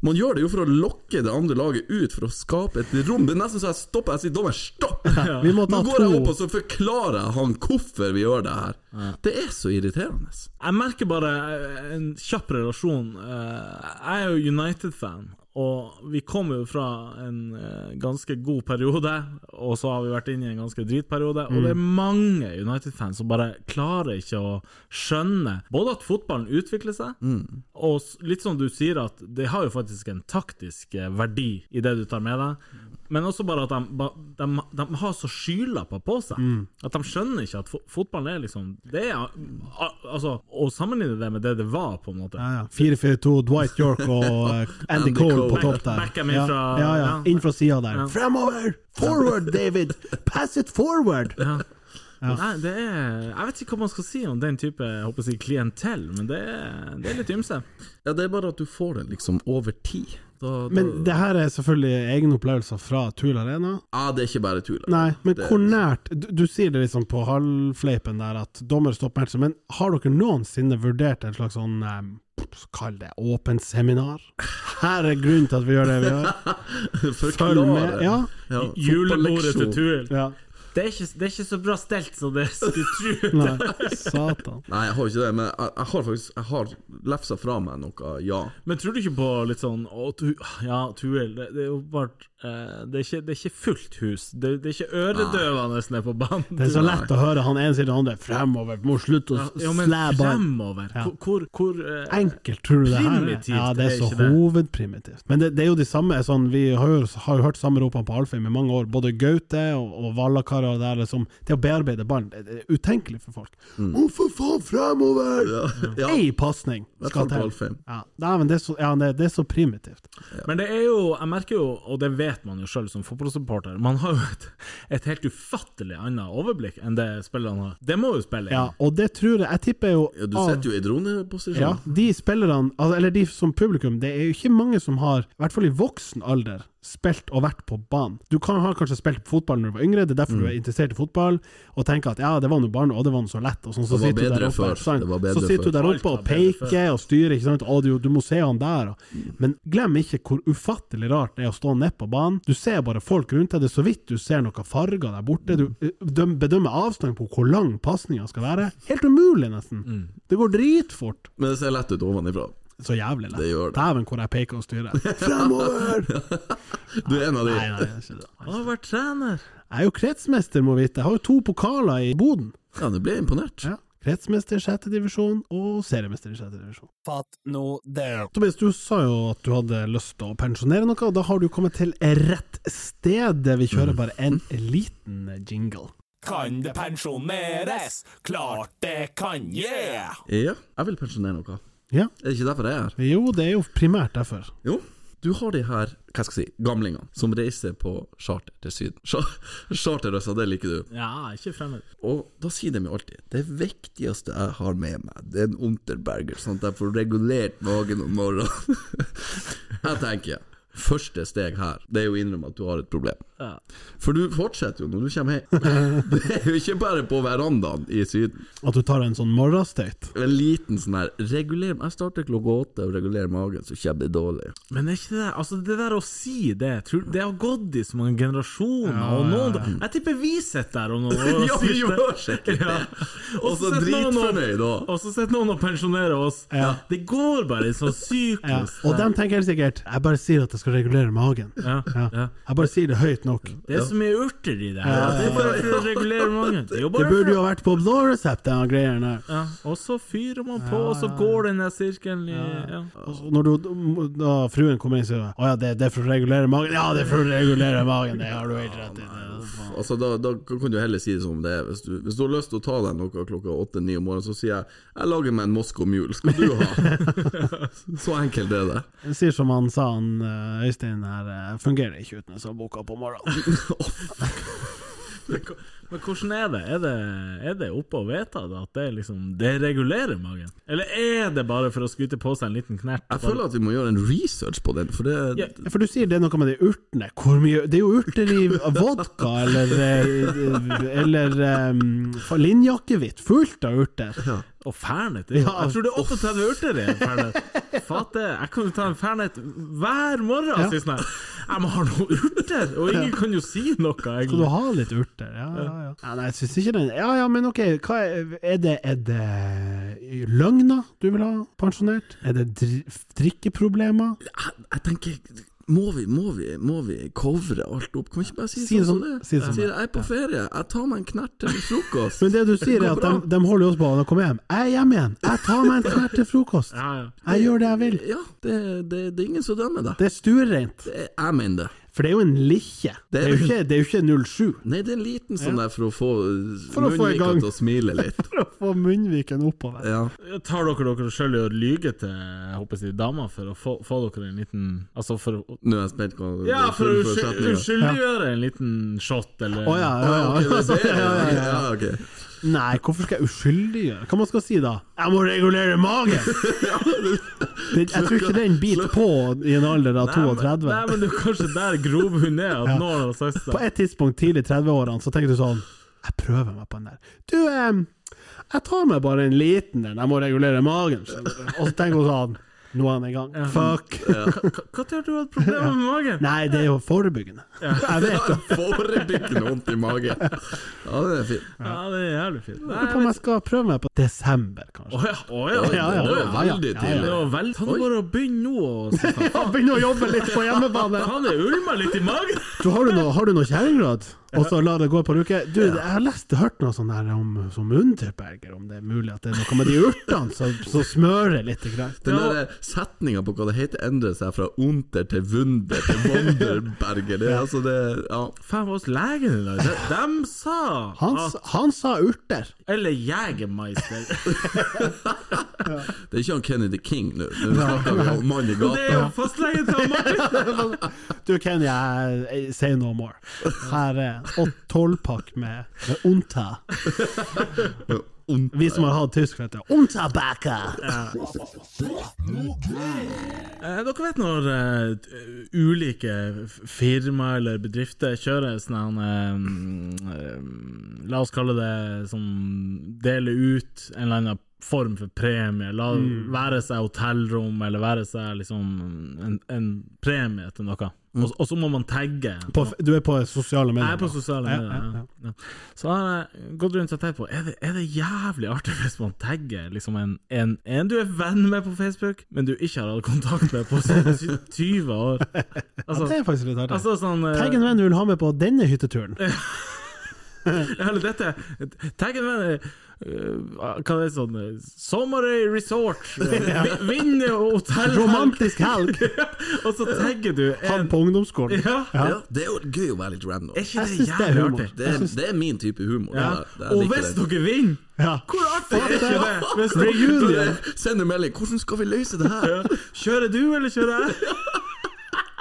man gjør det jo for å lokke det andre laget ut, for å skape et rom. Det er nesten så jeg stopper. Jeg sier dommer, stopp! Vi må ta Nå går jeg to. opp, og så forklarer jeg han hvorfor vi gjør det her. Det er så irriterende. Jeg merker bare eh, en kjapp relasjon. Eh, Jeg er jo United-fan, og vi kom jo fra en eh, ganske god periode, og så har vi vært inne i en ganske dritperiode, og det er mange United-fans som bare klarer ikke å skjønne både at fotballen utvikler seg, og s- litt som du sier, at det har jo faktisk en taktisk eh, verdi i det du tar med deg. Men også bare at de, ba- de, de har så skylapper på seg. At de skjønner ikke at fo- fotballen er liksom Det er al- Altså, å sammenligne det med det det var, på en måte. Ja, ja. 4-4-2, Dwight York og eh, Andy Andy Cole Cole. på topp der. Beckham ja. ifra- ja, ja. ja. Inn fra sida der. Ja. Fremover! Forward, David! Pass it forward! Nei, det er Jeg vet ikke hva man skal si om den type jeg håper å si, klientell, men det er, det er litt ymse. Ja, det er bare at du får den liksom over tid. Da, da... Men det her er selvfølgelig egne opplevelser fra Tool Arena. Ja, ah, det er ikke bare tull. Nei, men hvor nært Du, du sier det liksom på halvfleipen der at dommer stopper matchen, men har dere noensinne vurdert en slags sånn eh, Kall det åpent seminar? Her er grunnen til at vi gjør det vi gjør. Følg med. Ja. Ja, Julebordet til fotballeksjon. Tuel. ja. Det, er ikke- det er ikke så bra stelt som det skulle tro. Nei, satan. Nei, jeg har ikke det, men jeg, jeg har faktisk Jeg har lefsa fra meg noe, ja. Men tror du ikke på litt sånn å, tu, Ja, Tuel, det, det er jo bare eh, det, er ikke, det er ikke fullt hus. Det, det er ikke øredøvende nede på banen. Det er så lett å høre han ene sier til den andre 'fremover', må slutte å Ja, jo, men slæbe av. fremover! Hvor, hvor, hvor eh, Enkelt, tror du det her er? Primitivt Ja, det er er så ikke det. hovedprimitivt. Men det, det er jo de samme sånn, Vi har jo, har jo hørt samme ropene på Alfheim i mange år, både Gaute og, og Vallakarer og der, liksom. Det å bearbeide barn, det, det er utenkelig for folk. Å, for faen, fremover! Ja. ja. Ei pasning hvert skal fall på til. Alfheim. Ja, Nei, men det, er så, ja det, det er så primitivt. Men det er jo, jeg merker jo, og det vet man jo sjøl som fotballsupporter, man har jo et, et helt ufattelig annet overblikk enn det spillerne har. Det må jo spille inn. Ja, og det tror jeg Jeg tipper jo Ja, du av- sitter jo i droneposisjon. Ja, de spillerne, al- eller de som publikum, det er jo ikke mange som har, i hvert fall i voksen alder, spilt og vært på banen. Du kan ha kanskje spilt fotball når du var yngre, det er derfor Mm. du er interessert i fotball, og tenker at ja, det var nå barn, og det var nå så lett, og sånn, så Det var sitter du der bedre oppe, før. ikke sant? Det var bedre så sitter før. du der Alt oppe var og bedre peker og styrer, ikke sant, å, du, du må se han der, og. men glem ikke hvor ufattelig rart det er å stå ned på banen. Du ser bare folk rundt deg, det er så vidt du ser noen farger der borte, du eh, døm- bedømmer avstand på hvor lang passningen skal være. Helt umulig, nesten. Mm. Det går dritfort. Men det ser lett ut ovenifra. Så jævlig lett. Det gjør det. Dæven hvor jeg peker og styrer. Fremover! Du er en av de. Nei, nei, det er ikke det. Han har vært trener. Jeg er jo kretsmester, må vite. Jeg har jo to pokaler i Boden. Ja, du ble imponert. Ja. Kretsmester i sjette divisjon og seriemester i sjette divisjon. Fatt nå det. Tobias, du sa jo at du hadde lyst til å pensjonere noe, og da har du kommet til rett sted. Vi kjører bare en liten jingle. Kan det pensjoneres? Klart det kan, yeah! Ja, jeg vil pensjonere noe. Ja. Er det ikke derfor jeg er her? Jo, det er jo primært derfor. Jo, du har de her hva skal jeg si, gamlingene som reiser på charter til Syden. Char- Charter, altså, det liker du. Ja, ikke fremmed. Og da sier de jo alltid det viktigste jeg har med meg, det er en Unterberger, sånn at jeg får regulert magen om morgenen. Jeg tenker Første steg her, det er jo å innrømme at du har et problem. Ja. For du fortsetter jo når du kommer hjem. Det er jo ikke bare på verandaen i Syden. At du tar en sånn morgenstøyt. En liten sånn her Reguler Jeg starter klokka åtte og regulerer magen, så kommer det dårlig. Men er ikke det altså det der å si det tror, Det har gått i så mange generasjoner, og noen Jeg tipper vi sitter der og, noen, og Ja, vi sier gjør sikkert det! Og så sitter noen og- dritfornøyd, da. Og så sitter noen og pensjonerer oss. Ja. Det går bare i sånn Ja. syklus. Og de tenker helt sikkert 'jeg bare sier at jeg skal regulere magen'. Ja, Ja. ja. Jeg bare sier det høyt nok. Det er så mye urter i det her. Det er bare for å regulere magen. Det er jo Det bare burde jo for ha vært på Blå Resept, den greia der. ja, Og så fyrer man på, og så går den der sirkelen i ja. Altså, når du, da fruen kommer inn, sier hun Å ja, det, det er for å regulere magen. Ja, det er for å regulere magen, det har du helt rett i. Altså, da, da kan du heller si det som det er. Hvis du, hvis du har lyst til å ta deg noe klokka åtte-ni om morgenen, så sier jeg 'jeg lager meg en Moscow Mule', skal du ha? så enkelt er det. Jeg sier som han sa, han eh, Øystein her, eh, fungerer ikke uten disse boka på morgenen. Men hvordan er det? Er det, er det oppe og vedtatt at det liksom Det regulerer magen? Eller er det bare for å skute på seg en liten knert? Jeg føler at vi må gjøre en research på den, for Ja. det Ja, For du sier det er noe med de urtene. Hvor mye Det er jo urter i vodka eller eh, Eller eh, linjakkevitt. Fullt av urter. Og fernet? det er jo- Ja. Jeg tror det er 38 urter i en fernet. Fatte, jeg kan jo ta en fernet hver morgen. Ja. Sånn her. jeg må ha noen urter! Og ingen kan jo si noe, Skal du egentlig. ha litt urter? Ja, ja, ja. ja nei, jeg syns ikke den Ja ja, men ok, hva er, er det Er det løgner du vil ha pensjonert? Er det dri drikkeproblemer? jeg, jeg tenker må vi, må vi, må vi covre alt opp? Kan vi ikke bare si, Si sånn som sånn- det? si sånn Sier det. jeg er på ferie, jeg tar meg en knert til frokost. Men det du sier er går at de, bra. de holder oss på når de kommer hjem. Jeg er hjemme igjen! Jeg tar meg en knert til frokost! Ja, ja. Jeg gjør det jeg vil! Ja, det, det, det er ingen som dømmer deg. Det er stuereint. Det, jeg mener det. For det er jo en likkje. Det er jo ikke, det er jo ikke 07. Nei, det er en liten sånn der for å få For å få i munnvika gang. til å smile litt. For å få munnviken oppover. Ja. Tar dere dere sjøl i å lyge til jeg håper å si, damer for å få, få dere en liten Altså for å Nå er jeg spent på Ja, for å fullføre unnskyld- setningen. unnskyldiggjøre en liten shot, eller Å ja, ja, Ja, ja. ok, det er det. altså. Ja, ok. Nei, hvorfor skal jeg uskyldiggjøre? Hva man skal si da? Jeg må regulere magen! Den, jeg tror ikke den biter på i en alder av Nei, men- 32. Nei, men det er kanskje der grobunnen er, at noen har sagt sånn, På det. et tidspunkt tidlig i 30-årene så tenker du sånn Jeg prøver meg på den der. Du, eh, jeg tar meg bare en liten en, jeg må regulere magen. skjønner du. Og så tenker hun sånn Nå er han i gang. Fuck! Når har du hatt problemer med magen? Nei, det er jo forebyggende. Jeg vet det. Forebyggende vondt i magen. Ja, det er fint. Ja, det er jævlig fint. Nei, Lurer på om jeg skal prøve meg på desember, Å kanskje. ja, å ja. Oi, ja, det var ja, ja, veldig ja, ja. Det tidlig. var veldig Han går og begynner nå og så faen, Ja, Begynne å jobbe litt på hjemmebane. Faen, det ulmer litt i magen! Du, har du noe, har du noe kjerringråd? Og så la det gå et par uker? Du, jeg har lest og hørt noe sånn her om som Unterberger, om det er mulig at det er noe med de urtene som, som smører litt. Grann. Den der setninga på hva det heter, endrer seg fra unter til wunder til wonderberger. Det, er altså det, ja. Faen, hos legen i dag, de, de sa Han, Ah. s- han sa urter. Eller Jegermeister. det er ikke han Kennedy King nå. Nå snakker vi om mann i Det er jo gata. fastlegen til Martin! Du, Kenny, jeg- jeg- say no more. Her er en tolvpakk med, med Unta. Vi som har hatt tysk, vet du. Unterberger! Eh, Dere vet når eh, t- ulike f- firma eller bedrifter kjører sånn her eh, mm, eh, La oss kalle det som deler ut en eller annen form for premie. La, Være seg hotellrom, eller være seg liksom en, en premie til noe. Og, og så må man tagge. På, f- du er på sosiale medier? Jeg er på sosiale Ja, medier. Ja, ja. Så har jeg gått rundt og tenkt på Er det, er det jævlig artig hvis man tagger liksom en, en, en du er venn med på Facebook, men du ikke har hatt kontakt med på sånn 20 år? Ja, det Altså, er faktisk litt artig. altså sånn eh, Tagg en venn du vil ha med på denne hytteturen. Eller dette Tagg en venn eh, Hva er det sånn eh, Sommerøy Resort! eh, vi- Vinne hotell! Romantisk helg! Og så tagger du Han en på ungdomsskolen. Ja! Ja, det er jo gøy å være litt random. Er ikke Jeg det synes det er jævlig humor. artig? Det er, det er min type humor. Ja. Det der. Jeg Og liker hvis det. dere vinner, Ja. hvor artig er ikke det? Hvis Det er dere jul igjen. Send en melding. 'Hvordan skal vi løse det her?' Ja. Kjører du, eller kjører jeg?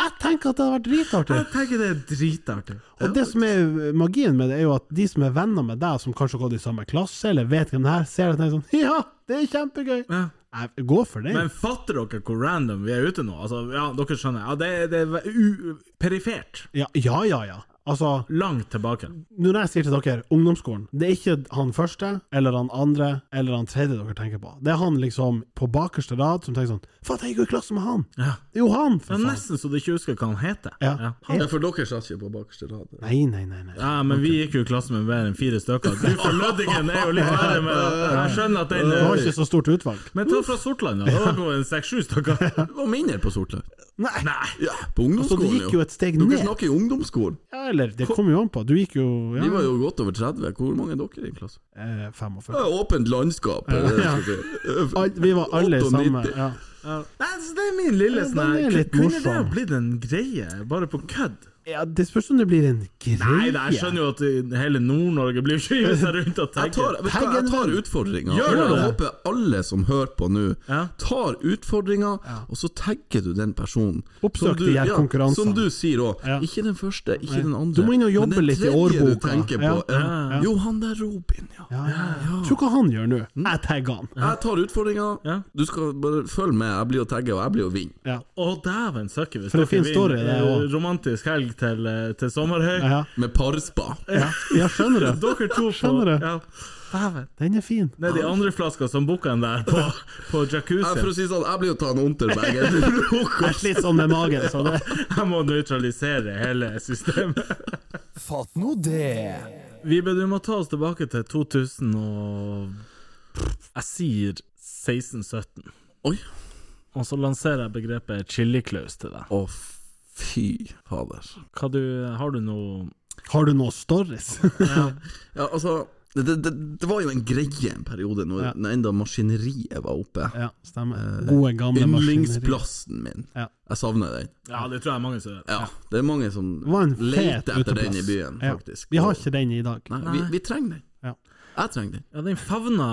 Jeg tenker at det hadde vært dritartig. Jeg tenker det er dritartig. Og det som er magien med det, er jo at de som er venner med deg, som kanskje har gått i samme klasse, eller vet hvem det er, ser det og tenker sånn Ja, det er kjempegøy! Ja. Jeg går for det. Men fatter dere hvor random vi er ute nå? Altså, ja, dere skjønner. Ja, det, er- det er u perifert. Ja, ja, ja. ja. Altså, Langt tilbake. når jeg sier til dere ungdomsskolen, det er ikke han første, eller han andre, eller han tredje dere tenker på. Det er han liksom på bakerste rad som tenker sånn Faen, jeg gikk jo i klasse med han! Ja. Det er jo han, Det for er faen! nesten så du ikke husker hva han heter. Ja. Ja, for dere satt ikke på bakerste rad. Nei, nei, nei. nei. Ja, men vi gikk jo i klasse med mer enn fire stykker. Du fra Lødingen er jo litt verre, men jeg skjønner at den Det var ikke er så stort utvalg. Men ta fra Sortland, da. Da var det jo en seks-sju stykker. Det var mindre på Sortland. Nei! Ja, Så på det ungdomsskolen, gikk jo et steg Dere ned. snakker jo ungdomsskolen. Ja, eller Det kom jo an på. Du gikk jo ja, Vi var jo godt over 30. Hvor mange er dere i en klasse? eh, 45. Ja, Åpent landskap. er det det jeg skal si. Eh, Alt, vi var alle 98. sammen. Ja. Nei, så det er min lille Ja, den sånn her. er litt Kunne det ha morsom. blitt en greie, bare på kødd? ja, det spørs om det blir en greie. Nei, da, jeg skjønner jo at eh, hele Nord-Norge blir jo ikke seg rundt og Jeg tar, tenker vet du hva, jeg tar utfordringa. Gjør Og det. Jeg håper alle som hører på nå, Ja. tar utfordringa, og så tagger du den personen. Oppsøk Som de du- her ja, konkurransene. Som du sier òg. Ja. Ikke den første, ikke Nei. den andre. Du må inn og jobbe Men den litt i tredje du årboka. tenker på, ja. Jo, han der Robin, ja. Ja, ja, ja. Tror hva han gjør nå. Jeg tagger han. Jeg tar utfordringa. Ja. Du skal bare følge med. Jeg blir jo tagga, og jeg blir jo vinner. Ja. Å, dæven søkker hvis For det finnes story, det eh, også. romantisk helg til, eh, til Sommerhøy. Ja, Med parspa. ja. ja, skjønner du? Dere to på Skjønner du? Ja. Dæven. Den er fin. Det er de andre flaskene som booka en der, på, på Jeg, for å jacuzzi. si sånn, jeg blir jo tatt Unterberger til Jeg frokost. sliter sånn med magen, så det Jeg må nøytralisere hele systemet. Fatt nå det. Vibe, du må ta oss tilbake til 2000 og Jeg sier 1617. Oi. Og så lanserer jeg begrepet chiliklaus til deg. Å, fy fader. Hva du, har du noe Har du noe stories? Ja, altså det, det, det- det var jo en greie en periode, når, Ja. når enda maskineriet var oppe. Ja, stemmer. Eh, Gode, gamle maskineri. Yndlingsplassen min. Ja. Jeg savner den. Ja, det tror jeg mange som Ja, Det er mange som Det var en fet leter etter den i uteplass. byen, Ja. faktisk. Vi har ikke den i dag. Nei, vi, vi trenger den. Ja. Jeg trenger den. Ja, den favna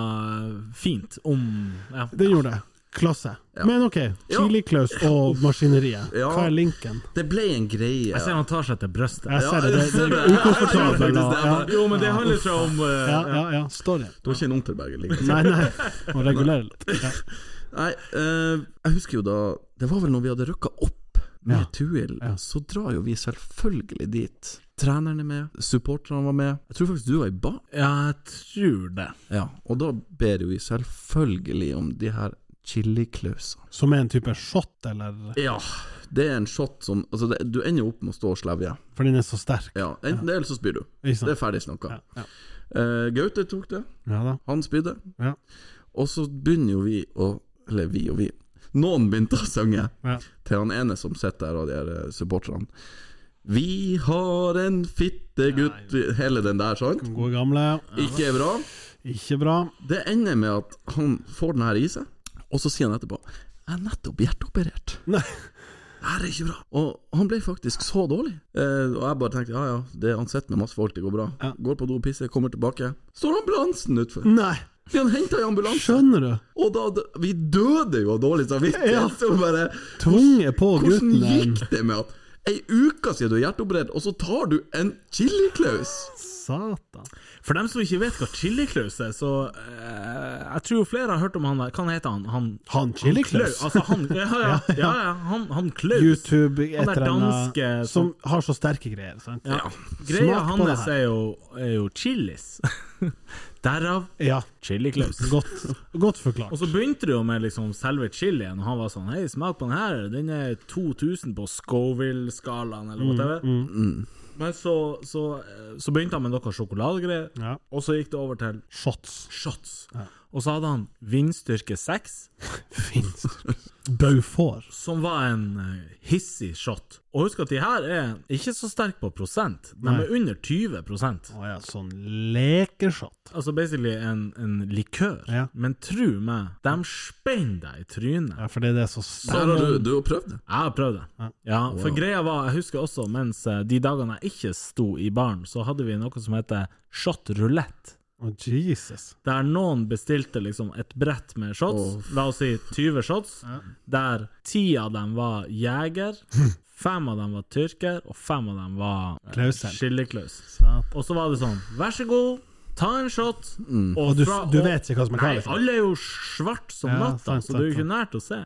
fint om ja. Den gjorde det. Klasse. Ja. Men OK, Chili Klaus og maskineriet. Ja. Hva er linken? Det ble en greie. Jeg ser han tar seg til brystet. Jeg ser det, det, det det. er ukomfortabelt. Ja, Ja, faktisk det. Jo, men det handler ikke om eh, ja, ja, ja. Story. Det var ikke en Unterberger. Liksom. Nei, nei. Må regulere litt. Ja. Nei, eh, jeg husker jo da Det var vel når vi hadde rykka opp med Ja. Tuil, Ja. så drar jo vi selvfølgelig dit. Treneren er med, supporterne var med. Jeg tror faktisk du var i bar. Ja, jeg tror det. Ja, og da ber jo vi selvfølgelig om de her chiliklausene. Som er en type shot, eller Ja, det er en shot som Altså, det, du ender jo opp med å stå og slevje. For den er så sterk. Ja, enten det, eller så spyr du. Ikke sant? Det er ferdig snakka. Ja, ja. Eh, Gaute tok det. ja da. Han spydde. Ja. Og så begynner jo vi å Eller vi og vi. Noen begynte å synge Ja. til han ene som sitter der, av de her eh, supporterne. Vi har en fittegutt Hele den der, sant? Gode gamle. Ikke bra. Ikke bra. Det ender med at han får den her i seg, og så sier han etterpå Jeg er nettopp hjerteoperert. Nei. Det her er ikke bra. Og han ble faktisk så dårlig. Eh, og jeg bare tenkte ja ja, det er han sitter med masse folk, det går bra. Ja. Går på do, pisser, kommer tilbake. Står ambulansen utfor! Nei. Vi har henta i ambulansen! Skjønner du? Og da d- Vi døde jo av dårlig samvittighet! Ja. Så bare Tvunget på Hvordan gutten. den. gikk det med at Ei uke siden du er hjerteoperert, og så tar du en chiliklaus! Satan. For dem som ikke vet hva chiliklaus er, så eh, Jeg tror flere har hørt om han der. Hva heter han? Han, Han Chili Klaus. Klau- Altså, han Ja, ja. ja, ja han, han Klaus. YouTube, et Han der eller annet danske som har så sterke greier. Sant? Ja. Greia Smak på det hans her. er jo, er jo chilis. Derav Ja. chiliklaus. Godt, godt forklart. Og så begynte det jo med liksom selve chilien, og han var sånn Hei, smak på den her, den er 2000 på Scoville-skalaen, Mm, eller whatever. Men så, så, eh, så begynte han med noe sjokoladegreier, Ja. og så gikk det over til Shots. shots. Og så hadde han vindstyrke 6, Fins. Beaufort. som var en eh, hissig shot. Og husk at de her er ikke så sterke på prosent, de er under 20 prosent. Å ja, sånn lekeshot. Altså basically en, en likør. Ja. Men tru meg, de spenner deg i trynet. Ja, for det er det så Der har du, du har prøvd det. Jeg har prøvd det. Ja, for greia var, jeg husker også, mens eh, de dagene jeg ikke sto i baren, så hadde vi noe som heter shot roulette. Å, Jesus. Der noen bestilte liksom et brett med shots, la oss si 20 shots, der 10 av dem var jeger, 5 av dem var tyrker, og 5 av dem var eh, Klausen. skilleklaus. Satan. Og så var det sånn, vær så god, ta en shot. Og du, fra- du og- vet ikke hva som er Nei, galt? alle er jo svart som Ja, natta, sant, så det er jo sant, ikke nært å se.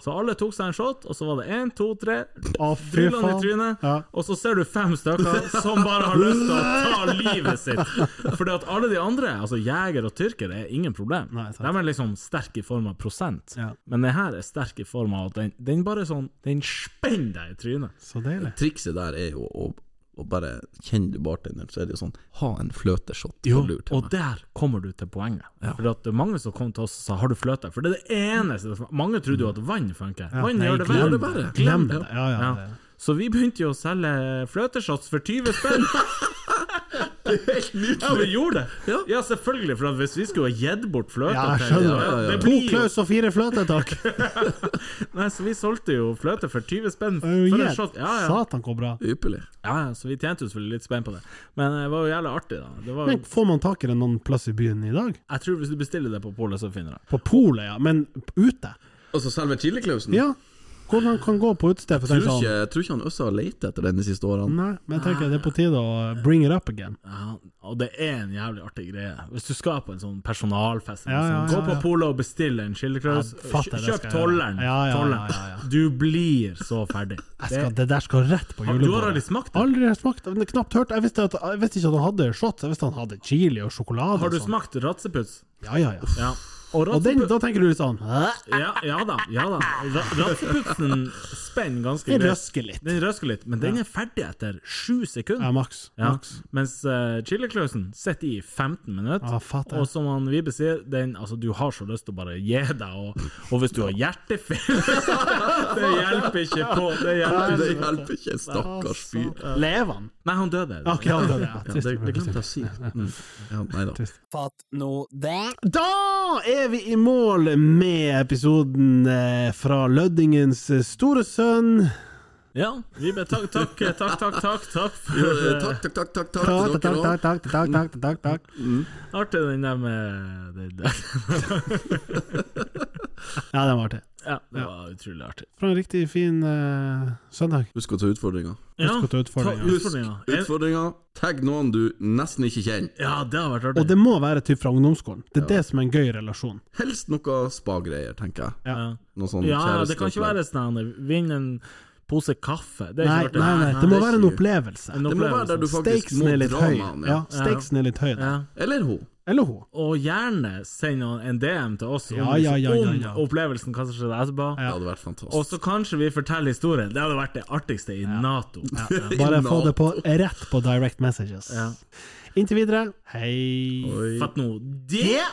Så alle tok seg en shot, og så var det én, to, tre Å, fy Dryller han i faen. trynet, Ja. og så ser du fem stykker som bare har lyst til å ta livet sitt. Fordi at alle de andre, altså jeger og tyrker, er ingen problem. Nei, sant. De er liksom sterk i form av prosent, Ja. men det her er sterk i form av at den, den bare sånn Den spenner deg i trynet. Så deilig. Trikset der er jo å, å bare kjenne du bartenderen, så er det jo sånn Ha en fløteshot på lur til og meg. der kommer du til poenget. For at det er mange som kom til oss og sa 'har du fløte?' For det er det eneste Mange trodde jo at vann funker. Vann nei, gjør det glem verre. det. Glem Glem det. det. Ja, ja, Ja. det- Så vi begynte jo å selge fløteshots for 20 spenn. Ja, vi gjorde det! Ja, selvfølgelig, for at hvis vi skulle ha gitt bort fløte Ja, jeg til- skjønner. Ja, ja, ja. Det To blir jo klaus og fire fløter, takk. Nei, så vi solgte jo fløte for 20 spenn for Oh, en yeah. shot. Ja, ja. Satan, hvor bra. Ypperlig. ja, ja, så vi tjente jo selvfølgelig litt spenn på det. Men eh, det var jo jævlig artig, da. Det var, Men Får man tak i det noen plass i byen i dag? jeg tror hvis du bestiller det på polet, så finner du det. På polet, ja. Men ute? Altså selve chiliklausen? Ja. Hvordan kan gå på utested for å Jeg tenke tror ikke, sånn? jeg tror ikke han Øssa har lett etter den de siste årene. Nei, men jeg tenker det er på tide å bring it up again. Ja, og det er en jævlig artig greie. Hvis du skal på en sånn personalfest, eller Ja, noe ja, ja, sånt, gå på ja. polet og bestill en chiliklaus. Ja, fatter det Kjøp skal jeg gjøre. tolleren. Ja, ja, ja, tolleren. ja, ja. Du blir så ferdig. Jeg skal, det der skal rett på Har- julebordet. du har aldri smakt det? Aldri har smakt det. Knapt hørt. Jeg visste, at, jeg visste ikke at han hadde shots, jeg visste han hadde chili og sjokolade. Har og du sånn. smakt ratseputs? Ja, ja, ja. Ja. Og Og den, ratseputs da tenker du litt sånn Hæ? ja, ja da. ja da Ra- Ratseputsen spenner ganske Den greit. røsker litt. Den røsker litt, men den er ferdig etter sju Ja, sekunder. maks. Ja. Maks. Mens uh, chiliklausen sitter i 15 minutter. Ja, fatter. og som han Vibe sier, den, altså, du har så lyst til å bare gi deg, og, og hvis du har hjertefeil Det hjelper ikke på. Det hjelper Det ikke. hjelper ikke, stakkars fyr. Lever han? Nei, han døde. Ok, ja, det, er det. ja, Ja, det, trist. det glemte jeg å si. Mm. Ja, nei da. Fatt nå det. Da er vi i mål med episoden eh, fra Løddingens store sønn. Ja, Vibe, takk, takk, takk, takk, takk, takk Jo, for eh, Takk, takk, takk, takk, takk Takk, til takk, dere takk, takk, takk, takk, takk, takk. eh, Artig den der med det, det. Ja, den var artig. Ja, det var utrolig artig. For en riktig fin eh, søndag. også. Husk å ta utfordringa. Ja, å ta utfordringer. ta utfordringer. En- Utfordringa tagg noen du nesten ikke kjenner. Ja, det har vært Og artig. det må være typ fra ungdomsskolen. Det er det som er en gøy relasjon. Helst noe spa-greier, tenker jeg. Ja. Noe sånn ja, det kan ikke kjæresteopplegg. være sånn at vinn en pose kaffe. Det er Nei, ikke artig. nei, nei, det må det er være en ikke gøy. opplevelse. En Det må være opplevelse. der du faktisk Stakesen må er litt dra høy. med han, Ja, ja. stakesen er litt høy. ja. da. Eller hun. Eller hun. Og gjerne send noen- en DM til oss om, Ja, ja, ja, ja, om ja. opplevelsen hva som skjedde etterpå. Det hadde vært fantastisk. Og så kanskje vi forteller historien. Det hadde vært det artigste i Nato. Bare få det på, rett på direct messages. Ja. Inntil videre, hei. Fatt nå det!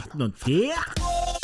Fatt nå det!